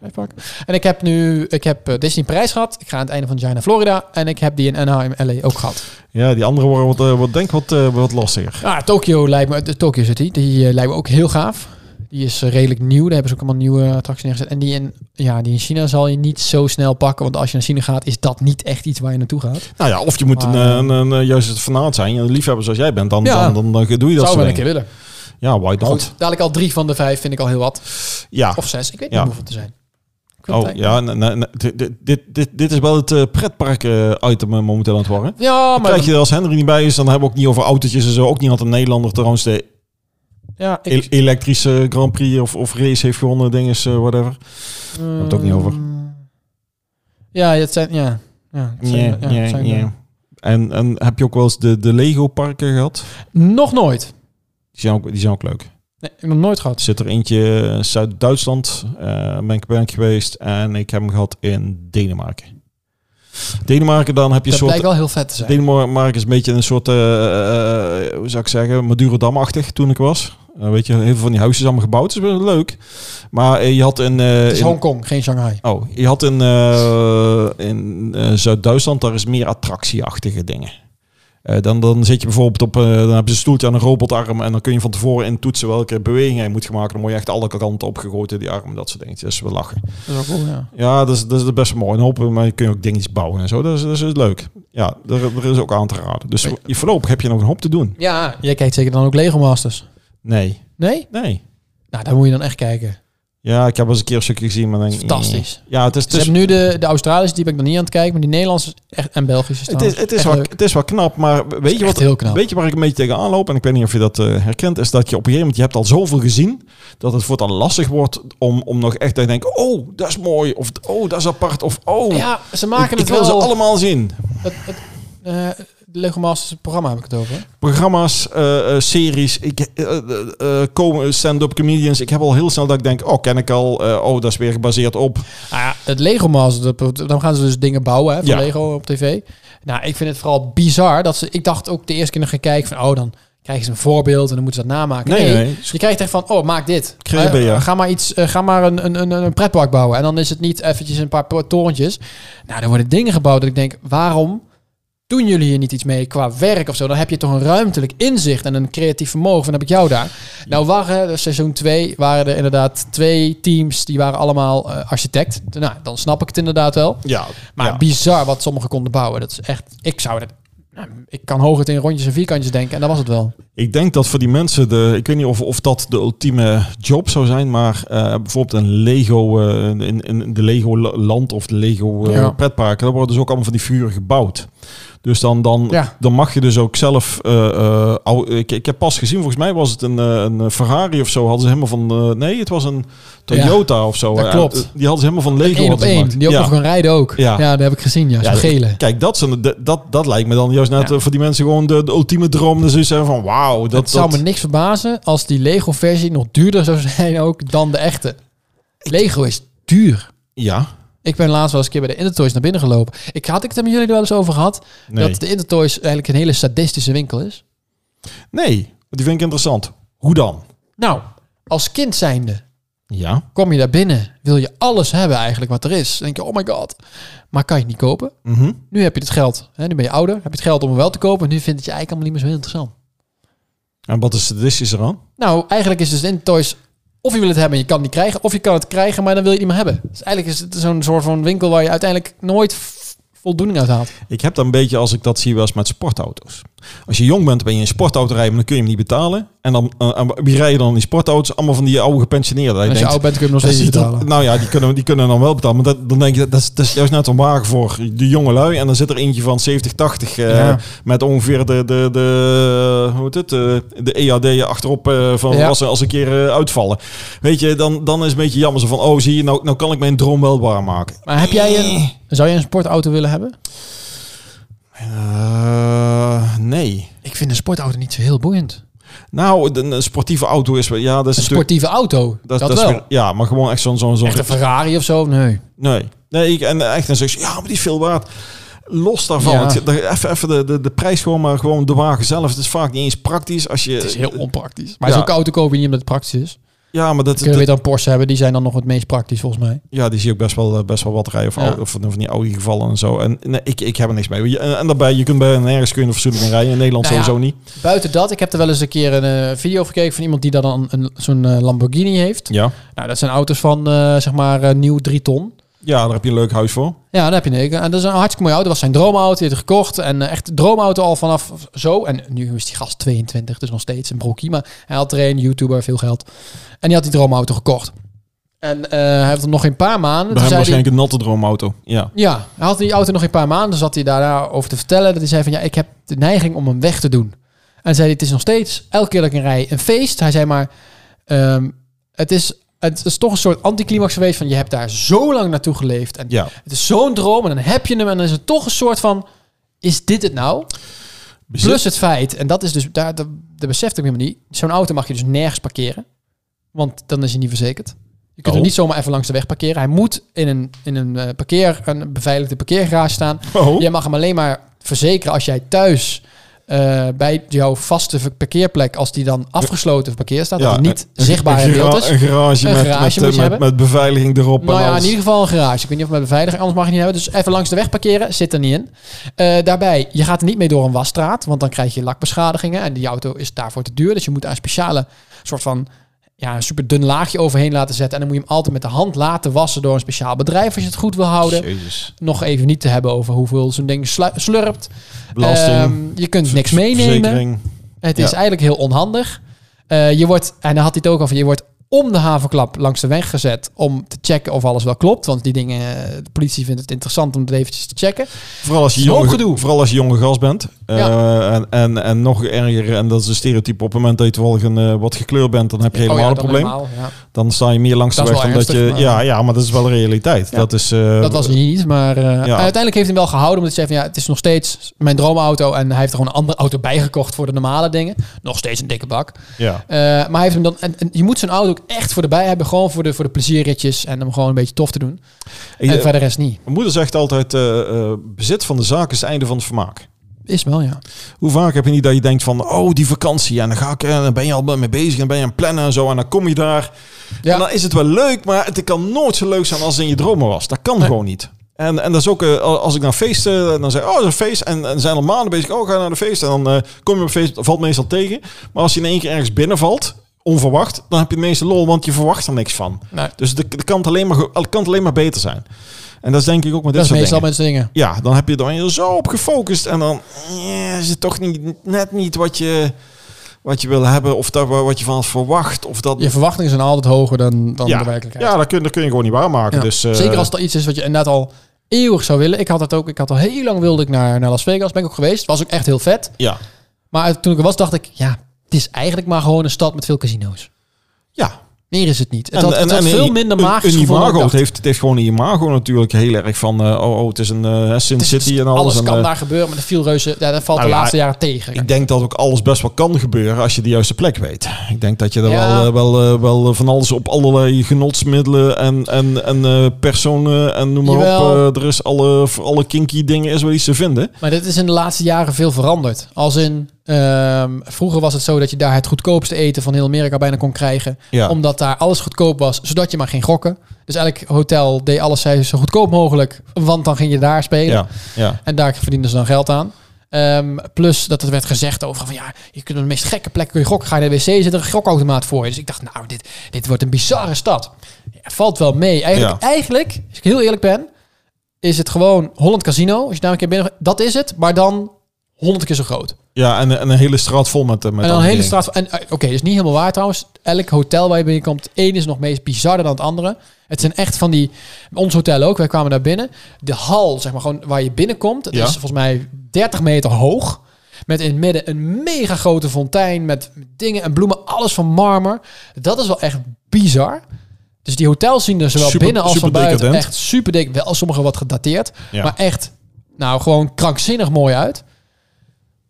[SPEAKER 2] Vijf parken. En ik heb nu ik heb eh, Disney Parijs gehad. Ik ga aan het einde van het jaar naar Florida. En ik heb die in Anaheim, LA ook gehad.
[SPEAKER 1] Ja, die andere worden wat, eh, wat denk ik wat, eh, wat lastiger.
[SPEAKER 2] Ah, Tokyo lijkt me, de Tokyo City, die eh, lijkt me ook heel gaaf. Die is eh, redelijk nieuw. Daar hebben ze ook allemaal nieuwe attracties neergezet. En die in, ja, die in China zal je niet zo snel pakken. Want als je naar China gaat, is dat niet echt iets waar je naartoe gaat.
[SPEAKER 1] Nou ja, of je moet een,
[SPEAKER 2] Maar-
[SPEAKER 1] eh, een, een, eh, juist het fanaat zijn, een liefhebber zoals jij bent, dan,
[SPEAKER 2] Ja.
[SPEAKER 1] dan, dan, dan doe je dat
[SPEAKER 2] zou
[SPEAKER 1] soort
[SPEAKER 2] wel een keer
[SPEAKER 1] dingen.
[SPEAKER 2] willen.
[SPEAKER 1] Ja, why not?
[SPEAKER 2] Goed, dadelijk al drie van de vijf vind ik al heel wat.
[SPEAKER 1] Ja.
[SPEAKER 2] Of zes, ik weet
[SPEAKER 1] Ja.
[SPEAKER 2] niet hoeveel te zijn. Ik wil het
[SPEAKER 1] Oh,
[SPEAKER 2] eigenlijk
[SPEAKER 1] ja, na- na- na- dit- dit- dit, dit, dit is wel het eh, pretpark eh, item eh, momenteel aan het worden.
[SPEAKER 2] Ja, maar
[SPEAKER 1] Krijg je er als Henry niet bij is, dan hebben we ook niet over autootjes en zo. Ook niet had een Nederlander trouwens de
[SPEAKER 2] ja, ik,
[SPEAKER 1] e- elektrische Grand Prix of, of race heeft gewonnen, dingen, eh whatever.
[SPEAKER 2] hebben
[SPEAKER 1] het ook niet over.
[SPEAKER 2] Mm. Ja, het zijn, ja. ja, het zijn- ja, het zijn-
[SPEAKER 1] En, en heb je ook wel eens de, de Lego-parken gehad?
[SPEAKER 2] Nog nooit.
[SPEAKER 1] Die zijn, ook, die zijn ook leuk. Er
[SPEAKER 2] Nee, ik heb nog nooit gehad.
[SPEAKER 1] zit er eentje in Zuid-Duitsland, eh ben ik, ben ik geweest. En ik heb hem gehad in Denemarken. Denemarken, dan heb je een
[SPEAKER 2] Dat
[SPEAKER 1] soort
[SPEAKER 2] blijkt wel heel vet te zijn.
[SPEAKER 1] Denemarken is een beetje een soort, eh, eh, hoe zou ik zeggen, Madurodam-achtig toen ik was. Eh, Eh, weet je, heel veel van die huisjes allemaal gebouwd. Dat is wel leuk. Maar eh, je had een... eh,
[SPEAKER 2] Het is
[SPEAKER 1] in-
[SPEAKER 2] Hongkong, geen Shanghai.
[SPEAKER 1] Oh, je had in, eh, in eh, Zuid-Duitsland, daar is meer attractieachtige dingen. Eh, dan, dan zit je bijvoorbeeld op, eh, dan heb je een stoeltje aan een robotarm en dan kun je van tevoren in toetsen welke beweging hij moet gaan maken. Dan word je echt alle kanten opgegooid in die arm, dat soort dingetjes. Dus we lachen.
[SPEAKER 2] Dat is ook cool, ja.
[SPEAKER 1] Ja, dat is, dat is best wel mooi. En hopen, maar je kunt ook dingetjes bouwen en zo. Dat is, dat is leuk. Ja, daar daar is ook aan te raden. Dus je, voorlopig heb je nog een hoop te doen.
[SPEAKER 2] Ja, jij kijkt zeker dan ook Lego Masters.
[SPEAKER 1] Nee,
[SPEAKER 2] Nee?
[SPEAKER 1] nee.
[SPEAKER 2] Nou, daar moet je dan echt kijken.
[SPEAKER 1] Ja, ik heb wel eens een keer een stukje gezien, maar dan denk ik,
[SPEAKER 2] Fantastisch.
[SPEAKER 1] Ja, het is, het
[SPEAKER 2] Ze
[SPEAKER 1] is
[SPEAKER 2] hebben nu de, de Australische, die ben ik nog niet aan het kijken, maar die Nederlandse is echt, en Belgische staan.
[SPEAKER 1] Het is, het, is wel, het is wel knap, maar weet je,
[SPEAKER 2] echt
[SPEAKER 1] wat,
[SPEAKER 2] heel knap.
[SPEAKER 1] weet je waar ik een beetje tegenaan loop? En ik weet niet of je dat eh, herkent. Is dat je op een gegeven moment, je hebt al zoveel gezien, dat het voortaan lastig wordt om, om nog echt te denken, oh, dat is mooi, of oh, dat is apart, of oh,
[SPEAKER 2] Ja, ze
[SPEAKER 1] ik,
[SPEAKER 2] maken
[SPEAKER 1] ik
[SPEAKER 2] het
[SPEAKER 1] wil
[SPEAKER 2] wel.
[SPEAKER 1] ze allemaal zien.
[SPEAKER 2] Het, het, eh, de Lego Masters het programma heb ik het over. hè?
[SPEAKER 1] Programma's, eh, eh, series, ik, eh, eh, eh, komen stand-up comedians. Ik heb al heel snel dat ik denk, oh, ken ik al, eh, oh, dat is weer gebaseerd op.
[SPEAKER 2] Ah, ja, het Lego Masters, dat- dan gaan ze dus dingen bouwen hè, van
[SPEAKER 1] Ja.
[SPEAKER 2] Lego op tv. Nou, ik vind het vooral bizar dat ze. Ik dacht ook de eerste keer nog gaan kijken van, oh, dan krijgen ze een voorbeeld en dan moeten ze dat namaken.
[SPEAKER 1] Nee,
[SPEAKER 2] Nee,
[SPEAKER 1] nee, nee.
[SPEAKER 2] je krijgt echt van, oh, maak dit.
[SPEAKER 1] Creëer,
[SPEAKER 2] Eh,
[SPEAKER 1] ja.
[SPEAKER 2] Ga maar iets, eh, ga maar een, een, een, een pretpark bouwen en dan is het niet eventjes een paar po- torentjes. Nou, er worden dingen gebouwd dat ik denk, waarom? Doen jullie hier niet iets mee qua werk of zo? Dan heb je toch een ruimtelijk inzicht en een creatief vermogen. Dan heb ik jou daar. Nou, waren er seizoen 2 waren er inderdaad twee teams die waren allemaal eh, architect. Nou, dan snap ik het inderdaad wel.
[SPEAKER 1] Ja,
[SPEAKER 2] Maar
[SPEAKER 1] ja.
[SPEAKER 2] bizar wat sommigen konden bouwen. Dat is echt. Ik zou dat. nou, ik kan hooguit in rondjes en vierkantjes denken en dat was het wel.
[SPEAKER 1] Ik denk dat voor die mensen, de, ik weet niet of, of dat de ultieme job zou zijn, maar eh, bijvoorbeeld een Lego, eh, in, in de Lego la- land of de Lego eh,
[SPEAKER 2] Ja.
[SPEAKER 1] pretparken, daar worden dus ook allemaal van die figuren gebouwd. Dus dan, dan,
[SPEAKER 2] Ja.
[SPEAKER 1] dan mag je dus ook zelf, eh, eh, ou- ik, ik heb pas gezien, volgens mij was het een, eh, een Ferrari of zo, hadden ze helemaal van, eh, nee, het was een Toyota of zo.
[SPEAKER 2] dat
[SPEAKER 1] Eh,
[SPEAKER 2] klopt.
[SPEAKER 1] eh, die hadden ze helemaal van Lego.
[SPEAKER 2] Eén op
[SPEAKER 1] gemaakt.
[SPEAKER 2] één. Die ook
[SPEAKER 1] Ja.
[SPEAKER 2] nog kan rijden ook. Ja,
[SPEAKER 1] Ja.
[SPEAKER 2] dat heb ik gezien. Ja, zo'n
[SPEAKER 1] Ja,
[SPEAKER 2] gele.
[SPEAKER 1] Kijk, dat, zijn de- dat, dat lijkt me dan juist net
[SPEAKER 2] Ja.
[SPEAKER 1] eh, voor die mensen gewoon de, de ultieme droom. Dus ze zeggen van, wauw. Dat,
[SPEAKER 2] het zou
[SPEAKER 1] dat,
[SPEAKER 2] me niks verbazen als die Lego-versie nog duurder zou zijn ook dan de echte. Lego is duur.
[SPEAKER 1] ja.
[SPEAKER 2] Ik ben laatst wel eens een keer bij de Intertoys naar binnen gelopen. Ik had ik het er met jullie er wel eens over gehad
[SPEAKER 1] Nee.
[SPEAKER 2] dat de Intertoys eigenlijk een hele sadistische winkel is.
[SPEAKER 1] Nee, die vind ik interessant. Hoe dan?
[SPEAKER 2] Nou, als kind zijnde
[SPEAKER 1] Ja.
[SPEAKER 2] kom je daar binnen, wil je alles hebben eigenlijk wat er is. Dan denk je, oh my god, maar kan je het niet kopen?
[SPEAKER 1] Mhm.
[SPEAKER 2] Nu heb je het geld. Hè? Nu ben je ouder, heb je het geld om het wel te kopen. Nu vindt het je eigenlijk allemaal niet meer zo heel interessant.
[SPEAKER 1] En wat is sadistisch eraan?
[SPEAKER 2] Nou, eigenlijk is dus de Intertoys... Of je wil het hebben en je kan het niet krijgen. Of je kan het krijgen, maar dan wil je het niet meer hebben. Dus eigenlijk is het zo'n soort van winkel waar je uiteindelijk nooit v- voldoening uit haalt.
[SPEAKER 1] Ik heb dat een beetje als ik dat zie wel eens met sportauto's. Als je jong bent, ben je een sportauto rijden, maar dan kun je hem niet betalen. En dan, eh, en wie rijden dan die sportauto's? Allemaal van die oude gepensioneerden. Dat je
[SPEAKER 2] En als je
[SPEAKER 1] denkt,
[SPEAKER 2] oud bent kun je hem nog
[SPEAKER 1] dat
[SPEAKER 2] steeds niet
[SPEAKER 1] ziet er-
[SPEAKER 2] betalen.
[SPEAKER 1] nou ja, die kunnen, die kunnen dan wel betalen. Maar dat, dan denk je, dat is, dat is juist net een wagen voor de jonge lui. En dan zit er eentje van 70, 80 eh,
[SPEAKER 2] Ja.
[SPEAKER 1] met ongeveer de, de, de, hoe heet het, Eh, de EAD achterop eh, van
[SPEAKER 2] Ja.
[SPEAKER 1] als, ze- als ze een keer eh, uitvallen. Weet je, dan, dan is het een beetje jammer. Zo van, oh zie je, nou, nou kan ik mijn droom wel waarmaken.
[SPEAKER 2] Maar heb jij een... Zou jij een sportauto willen hebben?
[SPEAKER 1] Eh, nee.
[SPEAKER 2] Ik vind een sportauto niet zo heel boeiend.
[SPEAKER 1] Nou, de- een sportieve auto is wel... Ja, dat is
[SPEAKER 2] Een
[SPEAKER 1] natuurlijk...
[SPEAKER 2] sportieve auto, dat,
[SPEAKER 1] is
[SPEAKER 2] wel.
[SPEAKER 1] weer- ja, maar gewoon echt zo'n... zo'n zo'n-
[SPEAKER 2] Echt een Ferrari of zo? Nee.
[SPEAKER 1] Nee. Nee, ik, en echt dan zeg je, ja, maar die is veel waard. Los daarvan.
[SPEAKER 2] Ja.
[SPEAKER 1] Het- de- even even de, de, de prijs gewoon, maar gewoon de wagen zelf. Het is vaak niet eens praktisch als je...
[SPEAKER 2] Het is heel onpraktisch. Maar zo'n
[SPEAKER 1] Ja.
[SPEAKER 2] auto koop je niet omdat het praktisch is. Dan
[SPEAKER 1] Ja, maar dat,
[SPEAKER 2] kunnen we
[SPEAKER 1] dat-
[SPEAKER 2] weer dan Porsche hebben. Die zijn dan nog het meest praktisch volgens mij.
[SPEAKER 1] ja, die zie je ook best wel, eh, best wel wat rijden. Of,
[SPEAKER 2] Ja.
[SPEAKER 1] oude- of van die oude gevallen en zo. En nee, ik, ik heb er niks mee. Je- En, en daarbij, je kunt bij nergens kun je een fatsoenlijk mee rijden. In Nederland
[SPEAKER 2] Nou ja.
[SPEAKER 1] sowieso niet.
[SPEAKER 2] Buiten dat, ik heb er wel eens een keer een eh, video over gekeken van iemand die daar dan een, zo'n eh, Lamborghini heeft.
[SPEAKER 1] Ja.
[SPEAKER 2] Nou, dat zijn auto's van eh, zeg maar eh, nieuw 3 ton.
[SPEAKER 1] ja, daar heb je een leuk huis voor.
[SPEAKER 2] Ja, daar heb je een. En dat is een hartstikke mooie auto. Dat was zijn droomauto. Die heeft hij gekocht. En eh, echt droomauto al vanaf zo. En nu is die gast 22, dus nog steeds een broekie. Maar hij had er een, YouTuber, veel geld. En die had die droomauto gekocht. En eh, hij heeft er nog een paar maanden.
[SPEAKER 1] Daar hebben we
[SPEAKER 2] toen zei hij-
[SPEAKER 1] waarschijnlijk een natte droomauto. Ja.
[SPEAKER 2] Ja, hij had die auto nog een paar maanden. Zat hij daarna over te vertellen. Dat hij zei van ja, ik heb de neiging om hem weg te doen. En zei hij, het is nog steeds, elke keer dat ik een rij, een feest. Hij zei maar, ehm, het, is, het is toch een soort anticlimax geweest van je hebt daar zo lang naartoe geleefd. En
[SPEAKER 1] Ja.
[SPEAKER 2] het is zo'n droom en dan heb je hem en dan is het toch een soort van, is dit het nou?
[SPEAKER 1] Bezit-
[SPEAKER 2] Plus het feit, en dat is dus, daar, dat, dat besefte ik helemaal niet. Zo'n auto mag je dus nergens parkeren. Want dan is hij niet verzekerd. Je kunt
[SPEAKER 1] Oh.
[SPEAKER 2] hem niet zomaar even langs de weg parkeren. Hij moet in een, in een, eh, parkeer, een beveiligde parkeergarage staan.
[SPEAKER 1] Oh.
[SPEAKER 2] Jij mag hem alleen maar verzekeren als jij thuis eh, bij jouw vaste ver- parkeerplek, als die dan afgesloten parkeer staat, dat
[SPEAKER 1] Ja,
[SPEAKER 2] die niet
[SPEAKER 1] een-
[SPEAKER 2] zichtbaar
[SPEAKER 1] een
[SPEAKER 2] in beeld
[SPEAKER 1] gara-
[SPEAKER 2] is.
[SPEAKER 1] Een garage,
[SPEAKER 2] Een
[SPEAKER 1] met,
[SPEAKER 2] garage moet
[SPEAKER 1] met,
[SPEAKER 2] je
[SPEAKER 1] eh, met,
[SPEAKER 2] hebben.
[SPEAKER 1] met beveiliging erop.
[SPEAKER 2] Nou
[SPEAKER 1] en
[SPEAKER 2] ja, in
[SPEAKER 1] alles.
[SPEAKER 2] ieder geval een garage. Ik weet niet of met beveiliging, anders mag je niet hebben. Dus even langs de weg parkeren, zit er niet in. Eh, daarbij, je gaat er niet mee door een wasstraat, want dan krijg je lakbeschadigingen. En die auto is daarvoor te duur. Dus je moet daar een speciale soort van ja, een super dun laagje overheen laten zetten. En dan moet je hem altijd met de hand laten wassen door een speciaal bedrijf als je het goed wil houden.
[SPEAKER 1] Jezus.
[SPEAKER 2] Nog even niet te hebben over hoeveel zo'n ding slu- slurpt.
[SPEAKER 1] Belasting.
[SPEAKER 2] Ehm, je kunt niks meenemen.
[SPEAKER 1] verzekering.
[SPEAKER 2] Het is
[SPEAKER 1] Ja.
[SPEAKER 2] eigenlijk heel onhandig. Eh, je wordt, en daar had hij het ook over, je wordt om de havenklap langs de weg gezet om te checken of alles wel klopt. Want die dingen, eh, de politie vindt het interessant om het eventjes te checken.
[SPEAKER 1] Vooral als je
[SPEAKER 2] Zo'n
[SPEAKER 1] jonge,
[SPEAKER 2] gedoe.
[SPEAKER 1] vooral als je jonge gast bent. Eh, en, en, en nog erger, en dat is een stereotype, op het moment dat je toevallig een, eh, wat gekleurd bent, dan heb je helemaal
[SPEAKER 2] Oh ja,
[SPEAKER 1] een
[SPEAKER 2] dan
[SPEAKER 1] probleem.
[SPEAKER 2] helemaal, ja.
[SPEAKER 1] Dan sta je meer langs de
[SPEAKER 2] Dat is
[SPEAKER 1] weg.
[SPEAKER 2] wel
[SPEAKER 1] Omdat je,
[SPEAKER 2] ernstig, maar-
[SPEAKER 1] ja, ja, maar dat is wel de realiteit.
[SPEAKER 2] Ja.
[SPEAKER 1] Dat, is, eh,
[SPEAKER 2] Dat was hij niet, maar eh, uiteindelijk heeft hij hem wel gehouden. Omdat hij zei van ja, het is nog steeds mijn droomauto. En hij heeft er gewoon een andere auto bijgekocht voor de normale dingen. Nog steeds een dikke bak.
[SPEAKER 1] ja.
[SPEAKER 2] Eh, maar hij heeft hem dan. En, en je moet zijn auto ook echt voor de bij hebben. Gewoon voor de, voor de plezierritjes. En hem gewoon een beetje tof te doen.
[SPEAKER 1] Ik-
[SPEAKER 2] en verder is niet.
[SPEAKER 1] Eh, Mijn moeder zegt altijd, eh, eh, bezit van de zaak is het einde van het vermaak.
[SPEAKER 2] Is wel, ja.
[SPEAKER 1] Hoe vaak heb je niet dat je denkt van, oh die vakantie, en dan ga ik, en dan ben je al mee bezig, en ben je aan het plannen en zo, en dan kom je daar.
[SPEAKER 2] Ja.
[SPEAKER 1] En dan is het wel leuk, maar het kan nooit zo leuk zijn als het in je dromen was. Dat kan
[SPEAKER 2] Nee.
[SPEAKER 1] gewoon niet. En, en dat is ook, eh, als ik naar feesten, en dan zeg ik, oh, dat is een feest. En, en zijn al maanden bezig, oh, ga naar de feest. En dan eh, kom je op feest, valt meestal tegen. Maar als je in één keer ergens binnenvalt, onverwacht, dan heb je het meeste lol, want je verwacht er niks van.
[SPEAKER 2] Nee.
[SPEAKER 1] Dus de- het kan, alleen maar, ge- het kan alleen maar beter zijn. En dat is denk ik ook met dit
[SPEAKER 2] Dat is
[SPEAKER 1] soort
[SPEAKER 2] meestal
[SPEAKER 1] dingen.
[SPEAKER 2] met zingen.
[SPEAKER 1] Ja, dan heb je er dan je zo op gefocust. En dan eh, is het toch niet, net niet wat je, wat je wil hebben. Of dat, wa- wat je van het verwacht. Of dat,
[SPEAKER 2] Je verwachtingen zijn altijd hoger dan, dan
[SPEAKER 1] ja,
[SPEAKER 2] de werkelijkheid.
[SPEAKER 1] ja dat, kun, dat kun je gewoon niet waarmaken.
[SPEAKER 2] Ja.
[SPEAKER 1] Dus, eh,
[SPEAKER 2] Zeker als het al iets is wat je inderdaad al eeuwig zou willen. Ik had het ook. Ik had al heel lang wilde ik naar, naar Las Vegas. Ben ik ook geweest. Was ook echt heel vet.
[SPEAKER 1] Ja,
[SPEAKER 2] Maar toen ik er was, dacht ik, ja, het is eigenlijk maar gewoon een stad met veel casino's.
[SPEAKER 1] ja.
[SPEAKER 2] Meer is het niet. Het had, het had
[SPEAKER 1] een-
[SPEAKER 2] veel minder
[SPEAKER 1] een-
[SPEAKER 2] magisch
[SPEAKER 1] een
[SPEAKER 2] gevoel dan ik
[SPEAKER 1] imago. Het
[SPEAKER 2] dacht.
[SPEAKER 1] heeft, het heeft gewoon een imago natuurlijk heel erg van... eh, oh, oh, het is een eh, Sin
[SPEAKER 2] Het is-
[SPEAKER 1] City en alles. en,
[SPEAKER 2] kan
[SPEAKER 1] eh,
[SPEAKER 2] daar gebeuren, maar de viel reuze, ja, dat valt
[SPEAKER 1] nou
[SPEAKER 2] de
[SPEAKER 1] ja,
[SPEAKER 2] laatste jaren tegen.
[SPEAKER 1] ik denk dat ook alles best wel kan gebeuren als je de juiste plek weet. Ik denk dat je er
[SPEAKER 2] Ja.
[SPEAKER 1] wel, eh, wel, eh, wel van alles op allerlei genotsmiddelen en, en, en eh, personen en noem maar op.
[SPEAKER 2] Jawel.
[SPEAKER 1] eh, er is alle, voor alle kinky dingen is wel iets te vinden.
[SPEAKER 2] Maar dit is in de laatste jaren veel veranderd. Als in, ehm, vroeger was het zo dat je daar het goedkoopste eten van heel Amerika bijna kon krijgen.
[SPEAKER 1] Ja.
[SPEAKER 2] Omdat daar alles goedkoop was, zodat je maar ging gokken. Dus elk hotel deed alles zei, zo goedkoop mogelijk, want dan ging je daar spelen.
[SPEAKER 1] Ja, ja.
[SPEAKER 2] En daar verdienden ze dan geld aan. Ehm, plus dat het werd gezegd over van ja, je kunt op de meest gekke plek kun je gokken. Ga je naar de wc, zit er een gokautomaat voor je. Dus ik dacht, nou, dit, dit wordt een bizarre stad. Ja, het valt wel mee. Eigenlijk, eigenlijk, als ik heel eerlijk ben, is het gewoon Holland Casino. Als je daar een keer binnen, dat is het, maar dan 100 keer zo groot.
[SPEAKER 1] ja en, en een hele straat vol met, eh, met
[SPEAKER 2] en dan
[SPEAKER 1] al
[SPEAKER 2] een
[SPEAKER 1] die
[SPEAKER 2] hele
[SPEAKER 1] dingen.
[SPEAKER 2] straat. van- En eh, oké, dat is niet helemaal waar trouwens. Elk hotel waar je binnenkomt, het ene is nog meest bizarder dan het andere. Het zijn echt van die. Ons hotel ook, wij kwamen daar binnen. De hal, zeg maar gewoon waar je binnenkomt, dat
[SPEAKER 1] Ja.
[SPEAKER 2] is volgens mij 30 meter hoog. Met in het midden een mega grote fontein met dingen en bloemen, alles van marmer. Dat is wel echt bizar. Dus die hotels zien er zowel
[SPEAKER 1] Super-
[SPEAKER 2] binnen als
[SPEAKER 1] super
[SPEAKER 2] van buiten
[SPEAKER 1] decadent.
[SPEAKER 2] echt super dik. Wel sommige wat gedateerd,
[SPEAKER 1] Ja.
[SPEAKER 2] maar echt, nou gewoon krankzinnig mooi uit.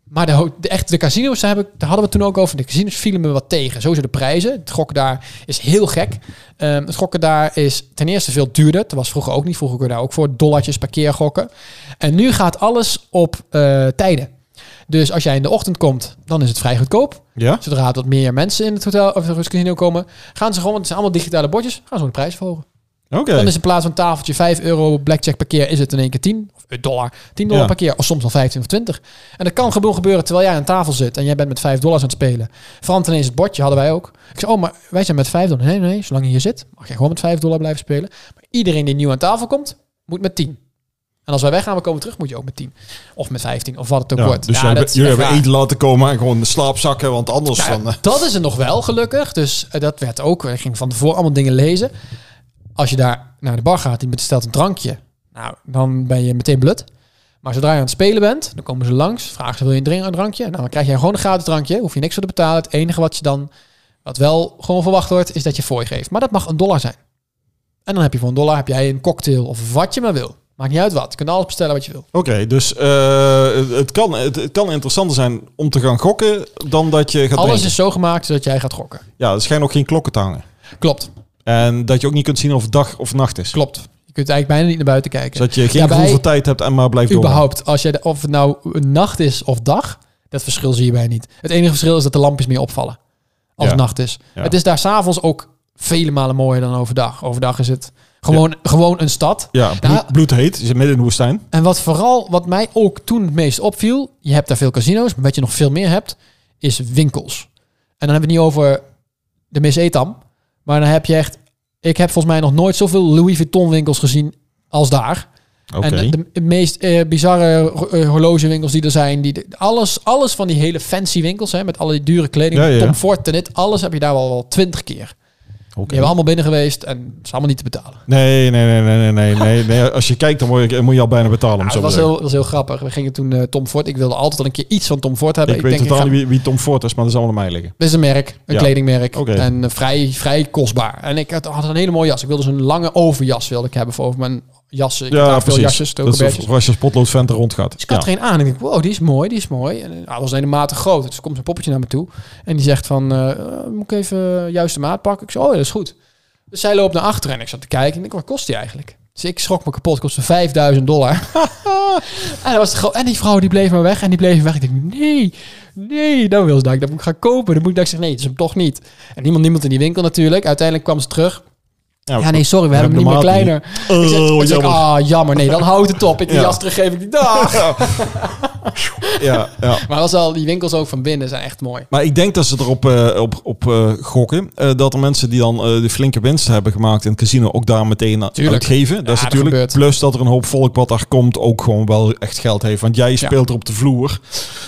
[SPEAKER 2] Maar de, ho- de, echt, de casino's, daar, heb ik, daar hadden we het toen ook over. De casino's vielen me wat tegen. Sowieso de prijzen. Het gokken daar is heel gek. Ehm, het gokken daar is ten eerste veel duurder. Dat was vroeger ook niet. Vroeger kon je daar ook voor dollartjes per keer gokken. En nu gaat alles op eh, tijden. Dus als jij in de ochtend komt, dan is het vrij goedkoop.
[SPEAKER 1] Ja?
[SPEAKER 2] Zodra het wat meer mensen in het hotel of het casino komen, gaan ze gewoon, want het zijn allemaal digitale bordjes, gaan ze gewoon de prijs verhogen.
[SPEAKER 1] Oké.
[SPEAKER 2] Dan is in plaats van tafeltje 5 euro blackjack per keer, is het in één keer 10 of eh, dollar. 10 dollar
[SPEAKER 1] Ja.
[SPEAKER 2] per keer, of soms al 15 of 20. En dat kan gewoon gebeuren terwijl jij aan tafel zit en jij bent met 5 dollars aan het spelen. Verandert ineens het bordje, hadden wij ook. Ik zei, oh, maar wij zijn met 5 dollar. Nee, nee, zolang je hier zit, mag je gewoon met 5 dollar blijven spelen. Maar iedereen die nieuw aan tafel komt, moet met 10. En als wij weggaan, we komen terug, moet je ook met 10. Of met 15, of wat het ook
[SPEAKER 1] Ja,
[SPEAKER 2] wordt.
[SPEAKER 1] dus
[SPEAKER 2] Ja,
[SPEAKER 1] jij
[SPEAKER 2] dat
[SPEAKER 1] hebt-
[SPEAKER 2] is
[SPEAKER 1] jullie
[SPEAKER 2] echt
[SPEAKER 1] hebben
[SPEAKER 2] waar.
[SPEAKER 1] eten laten komen en gewoon de slaapzakken, want anders
[SPEAKER 2] Nou ja,
[SPEAKER 1] dan... eh,
[SPEAKER 2] dat is er nog wel gelukkig. Dus eh, dat werd ook. Ik ging van tevoren allemaal dingen lezen. Als je daar naar de bar gaat, die bestelt een drankje. Nou, dan ben je meteen blut. Maar zodra je aan het spelen bent, dan komen ze langs. Vragen ze, wil je een, drink, een drankje? Nou, dan krijg je gewoon een gratis drankje. Hoef je niks voor te betalen. Het enige wat je dan, wat wel gewoon verwacht wordt, is dat je fooi geeft. Maar dat mag een dollar zijn. En dan heb je voor een dollar heb jij een cocktail of wat je maar wil. Maakt niet uit wat. Je kunt alles bestellen wat je wil.
[SPEAKER 1] Oké, dus eh, het, kan, het, het kan interessanter zijn om te gaan gokken dan dat je gaat
[SPEAKER 2] Alles
[SPEAKER 1] drinken.
[SPEAKER 2] is zo gemaakt dat jij gaat gokken.
[SPEAKER 1] Ja, dus er schijnen ook geen klokken te hangen.
[SPEAKER 2] Klopt,
[SPEAKER 1] En dat je ook niet kunt zien of het dag of nacht is.
[SPEAKER 2] klopt. Je kunt eigenlijk bijna niet naar buiten kijken.
[SPEAKER 1] Zodat je geen
[SPEAKER 2] Daarbij-
[SPEAKER 1] gevoel voor tijd hebt en maar blijft door.
[SPEAKER 2] überhaupt, als je de- of het nou een nacht is of dag, Dat verschil zie je bij niet. Het enige verschil is dat de lampjes meer opvallen. Als
[SPEAKER 1] Ja.
[SPEAKER 2] het nacht is.
[SPEAKER 1] Ja.
[SPEAKER 2] Het is daar s'avonds ook vele malen mooier dan overdag. Overdag is het gewoon, gewoon een stad.
[SPEAKER 1] Ja, bloed,
[SPEAKER 2] Nou-
[SPEAKER 1] bloedheet. Je zit midden in de woestijn.
[SPEAKER 2] En wat vooral, wat mij ook toen het meest opviel, je hebt daar veel casino's, maar wat je nog veel meer hebt, is winkels. En dan hebben we het niet over de Miss Etam, maar dan heb je echt, ik heb volgens mij nog nooit zoveel Louis Vuitton winkels gezien als daar.
[SPEAKER 1] Oké.
[SPEAKER 2] En de, de meest eh, bizarre ho- eh, horlogewinkels die er zijn, die, de- alles, alles van die hele fancy winkels, hè, met alle die dure kleding,
[SPEAKER 1] Ja, ja, ja.
[SPEAKER 2] Tom Ford en dit, alles heb je daar wel wel twintig keer.
[SPEAKER 1] Oké.
[SPEAKER 2] Die hebben allemaal binnen geweest en het is allemaal niet te betalen.
[SPEAKER 1] Nee, nee, nee, nee, nee, nee, nee, nee. Als je kijkt, dan moet je, moet je al bijna betalen. om
[SPEAKER 2] Ja,
[SPEAKER 1] zo
[SPEAKER 2] Ah, dat,
[SPEAKER 1] te
[SPEAKER 2] was
[SPEAKER 1] zeggen.
[SPEAKER 2] heel, dat was heel grappig. We gingen toen eh, Tom Ford. Ik wilde altijd al een keer iets van Tom Ford hebben.
[SPEAKER 1] ik weet
[SPEAKER 2] denk,
[SPEAKER 1] totaal
[SPEAKER 2] ga-
[SPEAKER 1] niet wie, wie Tom Ford is, maar dat zal wel aan mij liggen.
[SPEAKER 2] Dit is een merk, een
[SPEAKER 1] Ja.
[SPEAKER 2] kledingmerk.
[SPEAKER 1] Oké.
[SPEAKER 2] En eh, vrij, vrij kostbaar. En ik had, had een hele mooie jas. Ik wilde zo'n lange overjas wilde ik hebben voor over mijn jassen. Ik
[SPEAKER 1] ja,
[SPEAKER 2] draag veel
[SPEAKER 1] precies.
[SPEAKER 2] jasjes,
[SPEAKER 1] dat is
[SPEAKER 2] tokenbertjes.
[SPEAKER 1] of- of als je als potlood vent er rond gaat.
[SPEAKER 2] Dus ik had
[SPEAKER 1] Ja.
[SPEAKER 2] er een aan en ik denk, wow, die is mooi, die is mooi. En eh, hij was helemaal groot. Dus er komt een poppetje naar me toe. En die zegt van, eh, eh, moet ik even de juiste maat pakken? Ik zei, oh, ja, dat is goed. Dus zij loopt naar achteren en ik zat te kijken. En ik denk, wat kost die eigenlijk? Dus ik schrok me kapot. Het kostte 5000 dollar. [laughs] en, dat was te groot. en die vrouw die bleef maar weg en die bleef maar weg. Ik denk, nee, nee, dan wil ze dat ik dat moet gaan kopen. Dan moet ik dat ik zeg, nee, het is hem toch niet. En niemand, niemand in die winkel natuurlijk. Uiteindelijk kwam ze terug.
[SPEAKER 1] Ja,
[SPEAKER 2] Ja, nee, sorry, we
[SPEAKER 1] heb
[SPEAKER 2] hebben hem
[SPEAKER 1] ik
[SPEAKER 2] niet meer
[SPEAKER 1] normaal
[SPEAKER 2] kleiner.
[SPEAKER 1] [laughs] Oh,
[SPEAKER 2] ik zeg, ik
[SPEAKER 1] jammer.
[SPEAKER 2] zeg, ah, jammer. Nee, dan houdt het op. Ik die
[SPEAKER 1] Ja.
[SPEAKER 2] jas teruggeef ik die Ah. dag. [laughs]
[SPEAKER 1] Ja, ja.
[SPEAKER 2] Maar als al die winkels ook van binnen zijn echt mooi.
[SPEAKER 1] Maar ik denk dat ze erop eh, op, op, eh, gokken. eh, dat er mensen die dan eh, de flinke winst hebben gemaakt in het casino ook daar meteen aan
[SPEAKER 2] Tuurlijk.
[SPEAKER 1] uitgeven. Dat
[SPEAKER 2] Ja,
[SPEAKER 1] is
[SPEAKER 2] dat
[SPEAKER 1] natuurlijk.
[SPEAKER 2] gebeurt.
[SPEAKER 1] plus dat er een hoop volk wat daar komt ook gewoon wel echt geld heeft. Want jij speelt er op de vloer.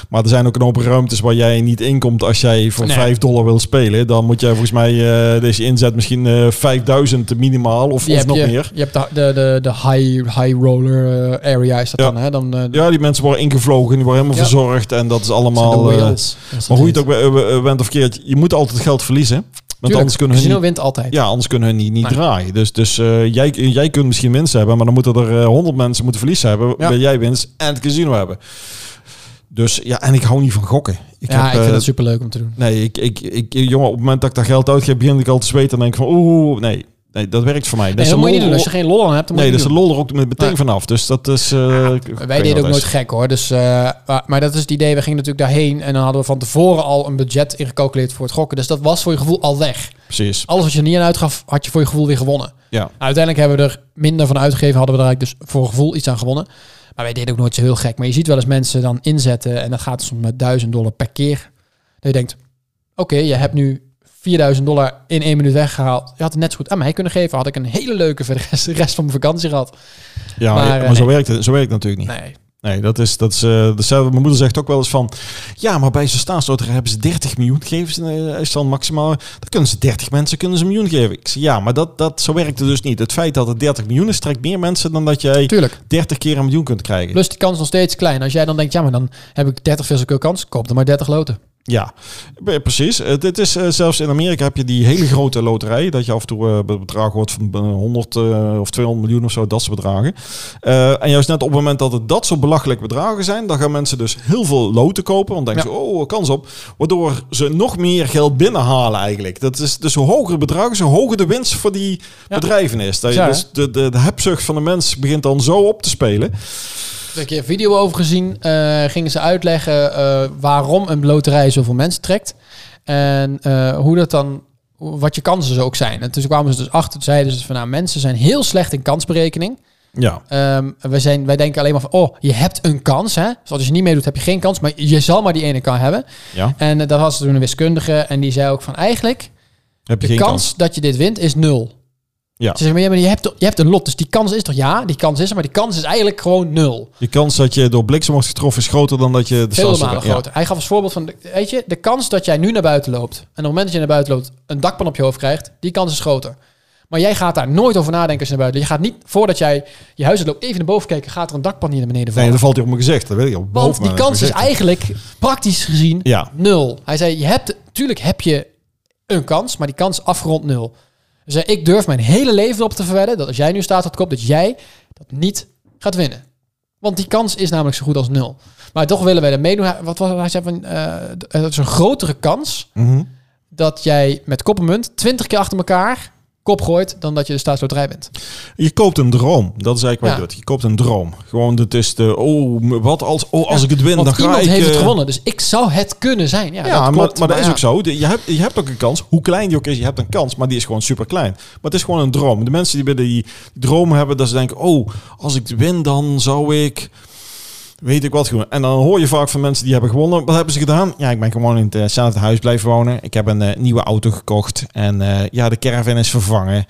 [SPEAKER 1] Maar er zijn ook een hoop ruimtes waar jij niet inkomt als jij voor
[SPEAKER 2] Nee.
[SPEAKER 1] 5 dollar wil spelen. Dan moet jij volgens mij eh, deze inzet misschien eh 5000 minimaal of,
[SPEAKER 2] Je
[SPEAKER 1] of
[SPEAKER 2] hebt,
[SPEAKER 1] nog
[SPEAKER 2] je,
[SPEAKER 1] meer.
[SPEAKER 2] je hebt de, de, de, de high, high roller eh, area is dat
[SPEAKER 1] Ja.
[SPEAKER 2] dan, hè? Dan, eh,
[SPEAKER 1] Ja, die mensen worden ingevlogen, die worden helemaal
[SPEAKER 2] Ja.
[SPEAKER 1] verzorgd. En dat is
[SPEAKER 2] zijn de
[SPEAKER 1] allemaal. eh,
[SPEAKER 2] whales. Dat is
[SPEAKER 1] maar hoe je het
[SPEAKER 2] heet.
[SPEAKER 1] ook be- eh, eh, went of keert, je moet altijd geld verliezen. Want
[SPEAKER 2] Tuurlijk,
[SPEAKER 1] anders kunnen hun
[SPEAKER 2] casino
[SPEAKER 1] niet,
[SPEAKER 2] wint altijd.
[SPEAKER 1] Ja, anders kunnen hun niet, niet
[SPEAKER 2] Nee.
[SPEAKER 1] draaien. Dus, dus eh, jij, jij kunt misschien winst hebben, maar dan moeten er eh, 100 mensen moeten verlies hebben.
[SPEAKER 2] Ja.
[SPEAKER 1] Wil jij winst en het casino hebben. Dus ja, en ik hou niet van gokken. Ik
[SPEAKER 2] Ja,
[SPEAKER 1] heb,
[SPEAKER 2] ik vind
[SPEAKER 1] eh,
[SPEAKER 2] dat superleuk om te doen.
[SPEAKER 1] Nee, ik, ik, ik, jongen, op het moment dat ik daar geld uitgeef, begin ik al te zweten. En denk ik van, oeh, nee, nee, dat werkt voor mij.
[SPEAKER 2] Nee,
[SPEAKER 1] is
[SPEAKER 2] dat
[SPEAKER 1] de
[SPEAKER 2] moet je niet
[SPEAKER 1] lol-
[SPEAKER 2] doen. Als je geen lol aan hebt, dan
[SPEAKER 1] Nee,
[SPEAKER 2] moet je
[SPEAKER 1] dus
[SPEAKER 2] niet
[SPEAKER 1] de
[SPEAKER 2] doen.
[SPEAKER 1] lol er ook meteen
[SPEAKER 2] Nee.
[SPEAKER 1] vanaf. Dus dat is... eh, ik- ik
[SPEAKER 2] Wij
[SPEAKER 1] weet
[SPEAKER 2] deden
[SPEAKER 1] niet
[SPEAKER 2] ook
[SPEAKER 1] wat
[SPEAKER 2] nooit
[SPEAKER 1] het is.
[SPEAKER 2] gek hoor. Dus, eh, maar, maar dat is het idee. We gingen natuurlijk daarheen en dan hadden we van tevoren al een budget ingecalculeerd voor het gokken. Dus dat was voor je gevoel al weg.
[SPEAKER 1] Precies,
[SPEAKER 2] Alles wat je er niet aan uitgaf, had je voor je gevoel weer gewonnen. Nou,
[SPEAKER 1] ja.
[SPEAKER 2] Uiteindelijk hebben we er minder van uitgegeven. Hadden we er eigenlijk dus voor gevoel iets aan gewonnen. Maar wij deden ook nooit zo heel gek. Maar je ziet wel eens mensen dan inzetten. En dat gaat soms met 1000 dollar per keer. Dat je denkt, oké, je hebt nu 4000 dollar in één minuut weggehaald. Je had het net zo goed aan mij kunnen geven. Had ik een hele leuke voor de [laughs] rest, de rest van mijn vakantie gehad.
[SPEAKER 1] Ja,
[SPEAKER 2] Maar,
[SPEAKER 1] maar,
[SPEAKER 2] eh,
[SPEAKER 1] zo,
[SPEAKER 2] nee.
[SPEAKER 1] werkt het, zo werkt het natuurlijk niet.
[SPEAKER 2] Nee.
[SPEAKER 1] Nee, dat is, dat is eh, dezelfde. Mijn moeder zegt ook wel eens van... Ja, maar bij zo'n staatsloterij hebben ze 30 miljoen gegeven. Ze, eh, Is dan maximaal... Dan kunnen ze 30 mensen kunnen ze een miljoen geven. Ik zeg, ja, maar dat, dat, zo werkt het dus niet. Het feit dat het 30 miljoen is, trekt meer mensen dan dat jij
[SPEAKER 2] Tuurlijk.
[SPEAKER 1] 30 keer een miljoen kunt krijgen.
[SPEAKER 2] Plus die kans is nog steeds klein. Als jij dan denkt, ja, maar dan heb ik 30 veel zoveel kans. Koop dan maar 30 loten.
[SPEAKER 1] Ja, eh, precies. Eh, dit is eh, zelfs in Amerika heb je die hele grote loterij. Dat je af en toe eh, be- bedragen hoort van eh, 100 eh, of 200 miljoen of zo, dat soort bedragen. Eh, en juist net op het moment dat het dat soort belachelijk bedragen zijn, dan gaan mensen dus heel veel loten kopen. Want dan denken ze, oh, kans op. Waardoor ze nog meer geld binnenhalen eigenlijk. Dat is dus hoe hoger het bedrag is, hoe hoger de winst voor die
[SPEAKER 2] Ja.
[SPEAKER 1] bedrijven is. Dat je
[SPEAKER 2] Ja, hè?
[SPEAKER 1] dus de, de, de hebzucht van de mens begint dan zo op te spelen.
[SPEAKER 2] Ik heb een keer een video over gezien. eh, gingen ze uitleggen eh, waarom een loterij zoveel mensen trekt. En eh, hoe dat dan, wat je kansen zo ook zijn. En toen kwamen ze dus achter, toen zeiden ze van nou, mensen zijn heel slecht in kansberekening.
[SPEAKER 1] Ja,
[SPEAKER 2] Ehm, wij, zijn, wij denken alleen maar van, oh, je hebt een kans. Hè? Dus als je niet meedoet, heb je geen kans. Maar je zal maar die ene kan hebben.
[SPEAKER 1] ja.
[SPEAKER 2] En eh, daar was toen een wiskundige. En die zei ook van, eigenlijk,
[SPEAKER 1] heb je
[SPEAKER 2] de
[SPEAKER 1] geen
[SPEAKER 2] kans,
[SPEAKER 1] kans.
[SPEAKER 2] dat je dit wint is nul.
[SPEAKER 1] Ja.
[SPEAKER 2] Ze zeggen, maar ja, maar je hebt, je hebt een lot, dus die kans is toch ja, die kans is er, maar die kans is eigenlijk gewoon nul.
[SPEAKER 1] Je kans dat je door bliksem wordt getroffen is groter dan dat je de
[SPEAKER 2] Vele
[SPEAKER 1] staatsloterij-
[SPEAKER 2] malen
[SPEAKER 1] ja.
[SPEAKER 2] groter. Hij gaf als voorbeeld van, weet je, de kans dat jij nu naar buiten loopt... en op het moment dat je naar buiten loopt een dakpan op je hoofd krijgt... die kans is groter. Maar jij gaat daar nooit over nadenken als je naar buiten... je gaat niet, voordat jij je huis uit loopt, even naar boven kijken... gaat er een dakpan hier naar beneden
[SPEAKER 1] Nee,
[SPEAKER 2] vallen.
[SPEAKER 1] dan valt hij op mijn gezicht. Dat weet ik. op boven
[SPEAKER 2] Want
[SPEAKER 1] mijn
[SPEAKER 2] die kans is
[SPEAKER 1] gezicht.
[SPEAKER 2] eigenlijk praktisch gezien
[SPEAKER 1] Ja,
[SPEAKER 2] nul. Hij zei, je hebt, tuurlijk heb je een kans, maar die kans is afgerond nul. Hij zei, ik durf mijn hele leven op te verwedden... dat als jij nu staat op de kop, dat jij dat niet gaat winnen. Want die kans is namelijk zo goed als nul. Maar toch willen wij er meedoen. Hij- Wat was het? Hij zei van, eh, d- eh, dat is een grotere kans
[SPEAKER 1] Mhm.
[SPEAKER 2] dat jij met koppermunt 20 keer achter elkaar kop gooit dan dat je de staatsloterij bent.
[SPEAKER 1] Je koopt een droom. Dat is eigenlijk wat je
[SPEAKER 2] Ja.
[SPEAKER 1] doet. Je koopt een droom. Gewoon, het is de, oh, m- wat als, oh, als
[SPEAKER 2] Ja,
[SPEAKER 1] ik het win,
[SPEAKER 2] Want
[SPEAKER 1] dan ga
[SPEAKER 2] iemand
[SPEAKER 1] ik...
[SPEAKER 2] heeft het
[SPEAKER 1] eh,
[SPEAKER 2] gewonnen, dus ik zou het kunnen zijn. Ja,
[SPEAKER 1] Ja,
[SPEAKER 2] dat
[SPEAKER 1] maar,
[SPEAKER 2] klopt,
[SPEAKER 1] maar dat is
[SPEAKER 2] ja.
[SPEAKER 1] ook zo. De- Je hebt, je hebt ook een kans, hoe klein die ook is, je hebt een kans, maar die is gewoon super klein. Maar het is gewoon een droom. De mensen die bij die droom hebben, dat ze denken, oh, als ik win, dan zou ik, weet ik wat, gewoon. En dan hoor je vaak van mensen die hebben gewonnen, wat hebben ze gedaan? Ja, ik ben gewoon in hetzelfde huis blijven wonen. Ik heb een eh, nieuwe auto gekocht en eh, ja, de caravan is vervangen.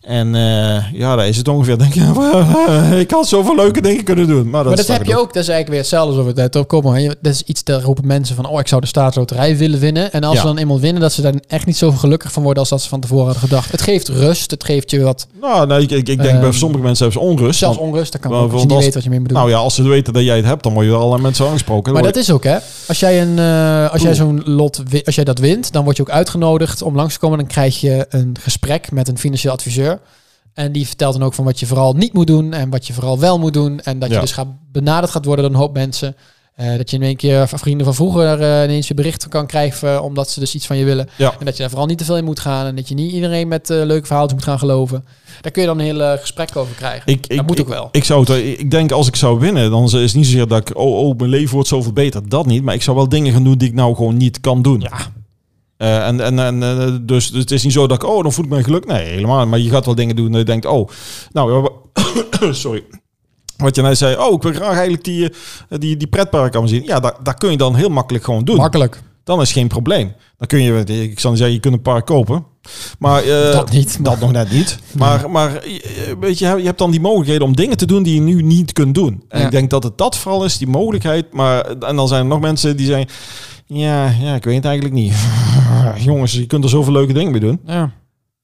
[SPEAKER 1] En eh, ja, daar is het ongeveer. Denk je, [laughs] ik had zoveel leuke dingen kunnen doen. Maar dat,
[SPEAKER 2] maar
[SPEAKER 1] is
[SPEAKER 2] dat heb je ook. Dat is eigenlijk weer hetzelfde alsof het net op kom maar. Dat is iets, daar roepen mensen van, oh, ik zou de staatsloterij willen winnen. En als
[SPEAKER 1] Ja.
[SPEAKER 2] ze dan eenmaal winnen, dat ze daar echt niet zo gelukkig van worden als dat ze van tevoren hadden gedacht. Het geeft rust, het geeft je wat,
[SPEAKER 1] Nou, nee, ik, ik, ik denk bij
[SPEAKER 2] Ehm,
[SPEAKER 1] sommige mensen hebben ze onrust.
[SPEAKER 2] zelfs
[SPEAKER 1] want-
[SPEAKER 2] onrust. Dat kan
[SPEAKER 1] Maar
[SPEAKER 2] ook, als
[SPEAKER 1] want
[SPEAKER 2] je niet
[SPEAKER 1] als-
[SPEAKER 2] weet wat je mee bedoelt.
[SPEAKER 1] Nou ja, als ze weten dat jij het hebt, dan word je er al met zo aangesproken.
[SPEAKER 2] maar
[SPEAKER 1] Dan
[SPEAKER 2] dat is ook, hè. Als jij, een, eh, als jij
[SPEAKER 1] Oeh.
[SPEAKER 2] zo'n lot, wi- als jij dat wint, dan word je ook uitgenodigd om langs te komen. Dan krijg je een gesprek met een financieel adviseur. En die vertelt dan ook van wat je vooral niet moet doen en wat je vooral wel moet doen. En dat
[SPEAKER 1] Ja.
[SPEAKER 2] je dus gaat benaderd gaat worden door een hoop mensen. Eh, dat je in één keer van vrienden van vroeger eh, ineens weer berichten kan krijgen eh, omdat ze dus iets van je willen.
[SPEAKER 1] Ja.
[SPEAKER 2] En dat je daar vooral niet te veel in moet gaan. En dat je niet iedereen met eh, leuke verhalen moet gaan geloven. Daar kun je dan een heel eh, gesprek over krijgen.
[SPEAKER 1] Ik, ik,
[SPEAKER 2] dat moet ook
[SPEAKER 1] ik-
[SPEAKER 2] wel.
[SPEAKER 1] Ik, zou het, ik denk als ik zou winnen, dan is het niet zozeer dat ik, oh, oh, mijn leven wordt zoveel beter. Dat niet. Maar ik zou wel dingen gaan doen die ik nou gewoon niet kan doen.
[SPEAKER 2] Ja.
[SPEAKER 1] Eh, en en, en eh, dus, dus het is niet zo dat ik, oh, dan voel ik me geluk. Nee, helemaal. niet. Maar je gaat wel dingen doen dat je denkt, oh, nou, ja, wa- [coughs] sorry. Wat je net zei, oh, ik wil graag eigenlijk die, eh, die, die pretpark aan zien. Ja, daar, daar kun je dan heel makkelijk gewoon doen.
[SPEAKER 2] Makkelijk.
[SPEAKER 1] dan is geen probleem. Dan kun je, ik zou niet zeggen, je kunt een park kopen. Maar, eh,
[SPEAKER 2] dat niet.
[SPEAKER 1] dat nog net niet. [laughs] Maar, maar eh, weet je, je hebt dan die mogelijkheden om dingen te doen die je nu niet kunt doen. En
[SPEAKER 2] Ja.
[SPEAKER 1] ik denk dat het dat vooral is, die mogelijkheid. Maar, en dan zijn er nog mensen die zeggen, ja, ja ik weet het eigenlijk niet. [laughs] Jongens, je kunt er zoveel leuke dingen mee doen.
[SPEAKER 2] Ja.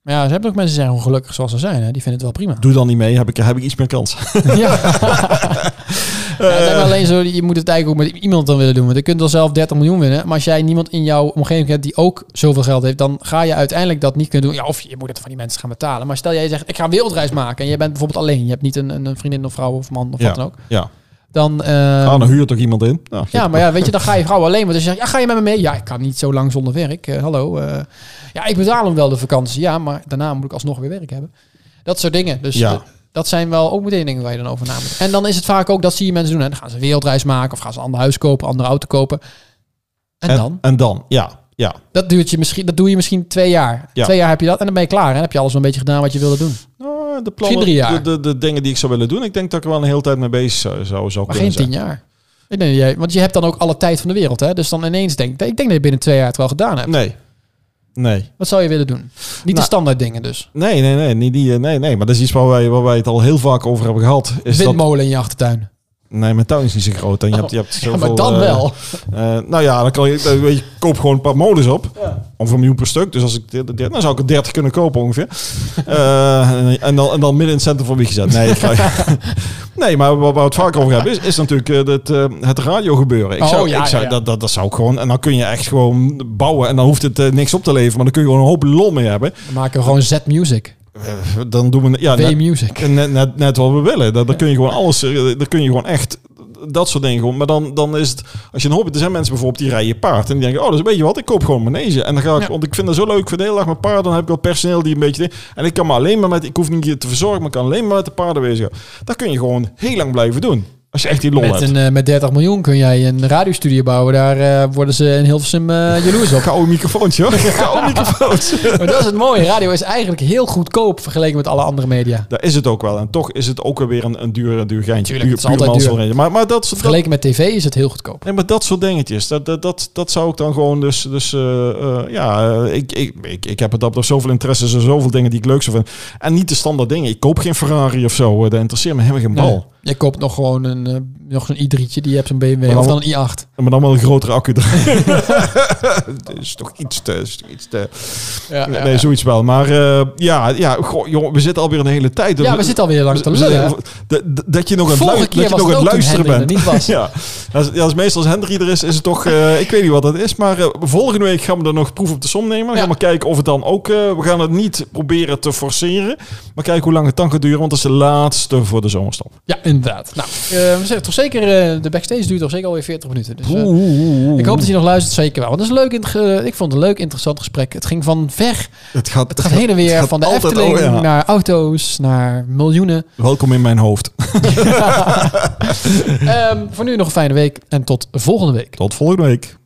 [SPEAKER 2] Maar ja, ze hebben ook mensen die zijn ongelukkig zoals ze zijn. Hè? Die vinden het wel prima.
[SPEAKER 1] Doe dan niet mee, heb ik, heb ik iets meer kans. [laughs]
[SPEAKER 2] [laughs] ja. Ja, het lijkt me alleen zo, je moet het eigenlijk ook met iemand dan willen doen. Want je kunt wel zelf 30 miljoen winnen. Maar als jij niemand in jouw omgeving hebt die ook zoveel geld heeft, dan ga je uiteindelijk dat niet kunnen doen. Ja, of je moet het van die mensen gaan betalen. Maar stel jij zegt, ik ga een wereldreis maken. En je bent bijvoorbeeld alleen. Je hebt niet een, een een vriendin of vrouw of man of wat dan ook.
[SPEAKER 1] Ja,
[SPEAKER 2] Dan, eh,
[SPEAKER 1] ah, dan huurt toch iemand in? Nou,
[SPEAKER 2] ja, maar ja, weet je, dan ga je vrouw alleen. Want als je zegt, ja, ga je met me mee? Ja, ik kan niet zo lang zonder werk. Eh, hallo. eh, ja, ik betaal hem wel de vakantie. Ja, maar daarna moet ik alsnog weer werk hebben. Dat soort dingen. Dus
[SPEAKER 1] Ja.
[SPEAKER 2] d- dat zijn wel ook meteen dingen waar je dan over na moet. En dan is het vaak ook, dat zie je mensen doen. Hè. Dan gaan ze een wereldreis maken of gaan ze een ander huis kopen, een andere auto kopen. En, dan?
[SPEAKER 1] En dan, ja. ja.
[SPEAKER 2] Dat, duurt je misschien, dat doe je misschien twee jaar.
[SPEAKER 1] Ja.
[SPEAKER 2] Twee jaar heb je dat en dan ben je klaar. En dan heb je alles wel een beetje gedaan wat je wilde doen.
[SPEAKER 1] Nou, de,
[SPEAKER 2] Misschien
[SPEAKER 1] plannen,
[SPEAKER 2] drie jaar.
[SPEAKER 1] De, de, de dingen die ik zou willen doen, ik denk dat ik er wel een hele tijd mee bezig zou, zou, zou
[SPEAKER 2] Maar
[SPEAKER 1] kunnen
[SPEAKER 2] geen
[SPEAKER 1] zijn.
[SPEAKER 2] tien jaar. Ik denk, dat jij- want je hebt dan ook alle tijd van de wereld. Hè? Dus dan ineens denk ik, ik denk dat je binnen twee jaar het wel gedaan hebt.
[SPEAKER 1] Nee. Nee.
[SPEAKER 2] Wat zou je willen doen? Niet de
[SPEAKER 1] Nou,
[SPEAKER 2] standaard dingen dus.
[SPEAKER 1] Nee, nee, nee, niet die, eh, nee, nee. Maar dat is iets waar wij, waar wij het al heel vaak over hebben gehad. Is dat,
[SPEAKER 2] Windmolen in je achtertuin.
[SPEAKER 1] nee, mijn tuin is niet zo groot. En je hebt, je hebt
[SPEAKER 2] [laughs] Ja,
[SPEAKER 1] zoveel,
[SPEAKER 2] maar dan
[SPEAKER 1] eh,
[SPEAKER 2] wel.
[SPEAKER 1] eh, nou ja, dan kan je, eh, weet je, ik koop gewoon een paar molens op. Of een miljoen per stuk. Dus als ik dit- dit- dan zou ik er 30 kunnen kopen ongeveer. [laughs] Eh, en, dan, en dan midden in het centrum van wie gezet. Nee, ik ga- [laughs] nee maar waar waar we het vaak over hebben is, is natuurlijk eh, dat, eh, het radio gebeuren. Ik
[SPEAKER 2] Oh,
[SPEAKER 1] zou,
[SPEAKER 2] ja,
[SPEAKER 1] ik zou,
[SPEAKER 2] ja, ja.
[SPEAKER 1] Dat, dat, dat zou ik gewoon. En dan kun je echt gewoon bouwen. En dan hoeft het eh, niks op te leveren. Maar dan kun je gewoon een hoop lol mee hebben.
[SPEAKER 2] Dan maken we gewoon Z-Music.
[SPEAKER 1] Eh, dan doen we. Ja, net-
[SPEAKER 2] W-Music.
[SPEAKER 1] En Net, net, net wat we willen. Daar, daar kun je gewoon alles. eh, Daar kun je gewoon echt. Dat soort dingen gewoon. Maar dan, dan is het. Als je een hobby. Er zijn mensen bijvoorbeeld die rijden paard. En die denken. Oh, dus weet je wat. Ik koop gewoon manege. En dan ga ik.
[SPEAKER 2] Ja.
[SPEAKER 1] Want ik vind dat zo leuk. Ik vind de hele dag mijn paarden. Dan heb ik wat personeel die een beetje. En ik kan maar alleen maar met. Ik hoef niet te verzorgen. Maar ik kan alleen maar met de paarden bezig. Dat kun je gewoon heel lang blijven doen. Als je echt die lol
[SPEAKER 2] Met,
[SPEAKER 1] hebt.
[SPEAKER 2] een, eh, met 30 miljoen kun jij een radiostudio bouwen. Daar eh, worden ze in Hilversum eh, jaloers op.
[SPEAKER 1] Gouden microfoontje hoor. [laughs] Gouden microfoontje.
[SPEAKER 2] maar dat is het mooie. Radio is eigenlijk heel goedkoop vergeleken met alle andere media.
[SPEAKER 1] Daar is het ook wel. En toch is het ook weer een, een duur, een duur geintje.
[SPEAKER 2] Tuurlijk, het is altijd duur.
[SPEAKER 1] manselrentje. Maar, maar dat, dat,
[SPEAKER 2] Vergeleken met tv is het heel goedkoop.
[SPEAKER 1] Nee, maar dat soort dingetjes, dat, dat, dat, dat zou ik dan gewoon dus... dus eh, eh, ja, eh, ik, ik, ik, ik heb het op zoveel interesses en zoveel dingen die ik leuk zou vinden. En niet de standaard dingen. Ik koop geen Ferrari of zo, eh, dat interesseert me helemaal geen bal.
[SPEAKER 2] Nee. Je koopt nog gewoon een, eh, nog zo'n i3'tje. Die je hebt zo'n BMW.
[SPEAKER 1] Maar
[SPEAKER 2] of
[SPEAKER 1] dan-
[SPEAKER 2] dan een i8.
[SPEAKER 1] Maar dan wel een grotere accu erin.
[SPEAKER 2] [laughs]
[SPEAKER 1] [laughs] dat is toch iets te... is toch iets te
[SPEAKER 2] Ja,
[SPEAKER 1] nee, zoiets wel. Maar eh, ja, ja goh, jongen, we zitten alweer een hele tijd... Dus
[SPEAKER 2] ja, we zitten alweer lang te
[SPEAKER 1] we- we-
[SPEAKER 2] lullen. hè?
[SPEAKER 1] dat- dat- Dat je nog aan het,
[SPEAKER 2] Vorige
[SPEAKER 1] lui-
[SPEAKER 2] keer
[SPEAKER 1] dat je
[SPEAKER 2] was
[SPEAKER 1] nog
[SPEAKER 2] het
[SPEAKER 1] aan het
[SPEAKER 2] ook toen
[SPEAKER 1] luisteren
[SPEAKER 2] Henry
[SPEAKER 1] bent.
[SPEAKER 2] er niet was.
[SPEAKER 1] [laughs] Ja, als, ja, als meestal als Henry er is, is het toch... eh, ik weet niet wat dat is, maar eh, volgende week gaan we er nog proef op de som nemen. We
[SPEAKER 2] Ja.
[SPEAKER 1] gaan maar kijken of het dan ook... eh, we gaan het niet proberen te forceren, maar kijken hoe lang het dan gaat duren. Want dat is de laatste voor de zomerstop.
[SPEAKER 2] Ja, inderdaad. Nou, eh, we zeggen toch zeker, eh, de backstage duurt nog zeker alweer 40 minuten. Dus, eh, ik hoop dat je nog luistert, zeker wel. Want het is leuk, int- ge- ik vond het een leuk, interessant gesprek. Het ging van ver.
[SPEAKER 1] Het gaat,
[SPEAKER 2] Het gaat heen en weer
[SPEAKER 1] gaat
[SPEAKER 2] van de
[SPEAKER 1] altijd
[SPEAKER 2] Efteling
[SPEAKER 1] over, ja.
[SPEAKER 2] naar auto's, naar miljoenen. [laughs]
[SPEAKER 1] Welkom in mijn hoofd.
[SPEAKER 2] Ehm, voor nu nog een fijne week en tot volgende week.
[SPEAKER 1] Tot volgende week.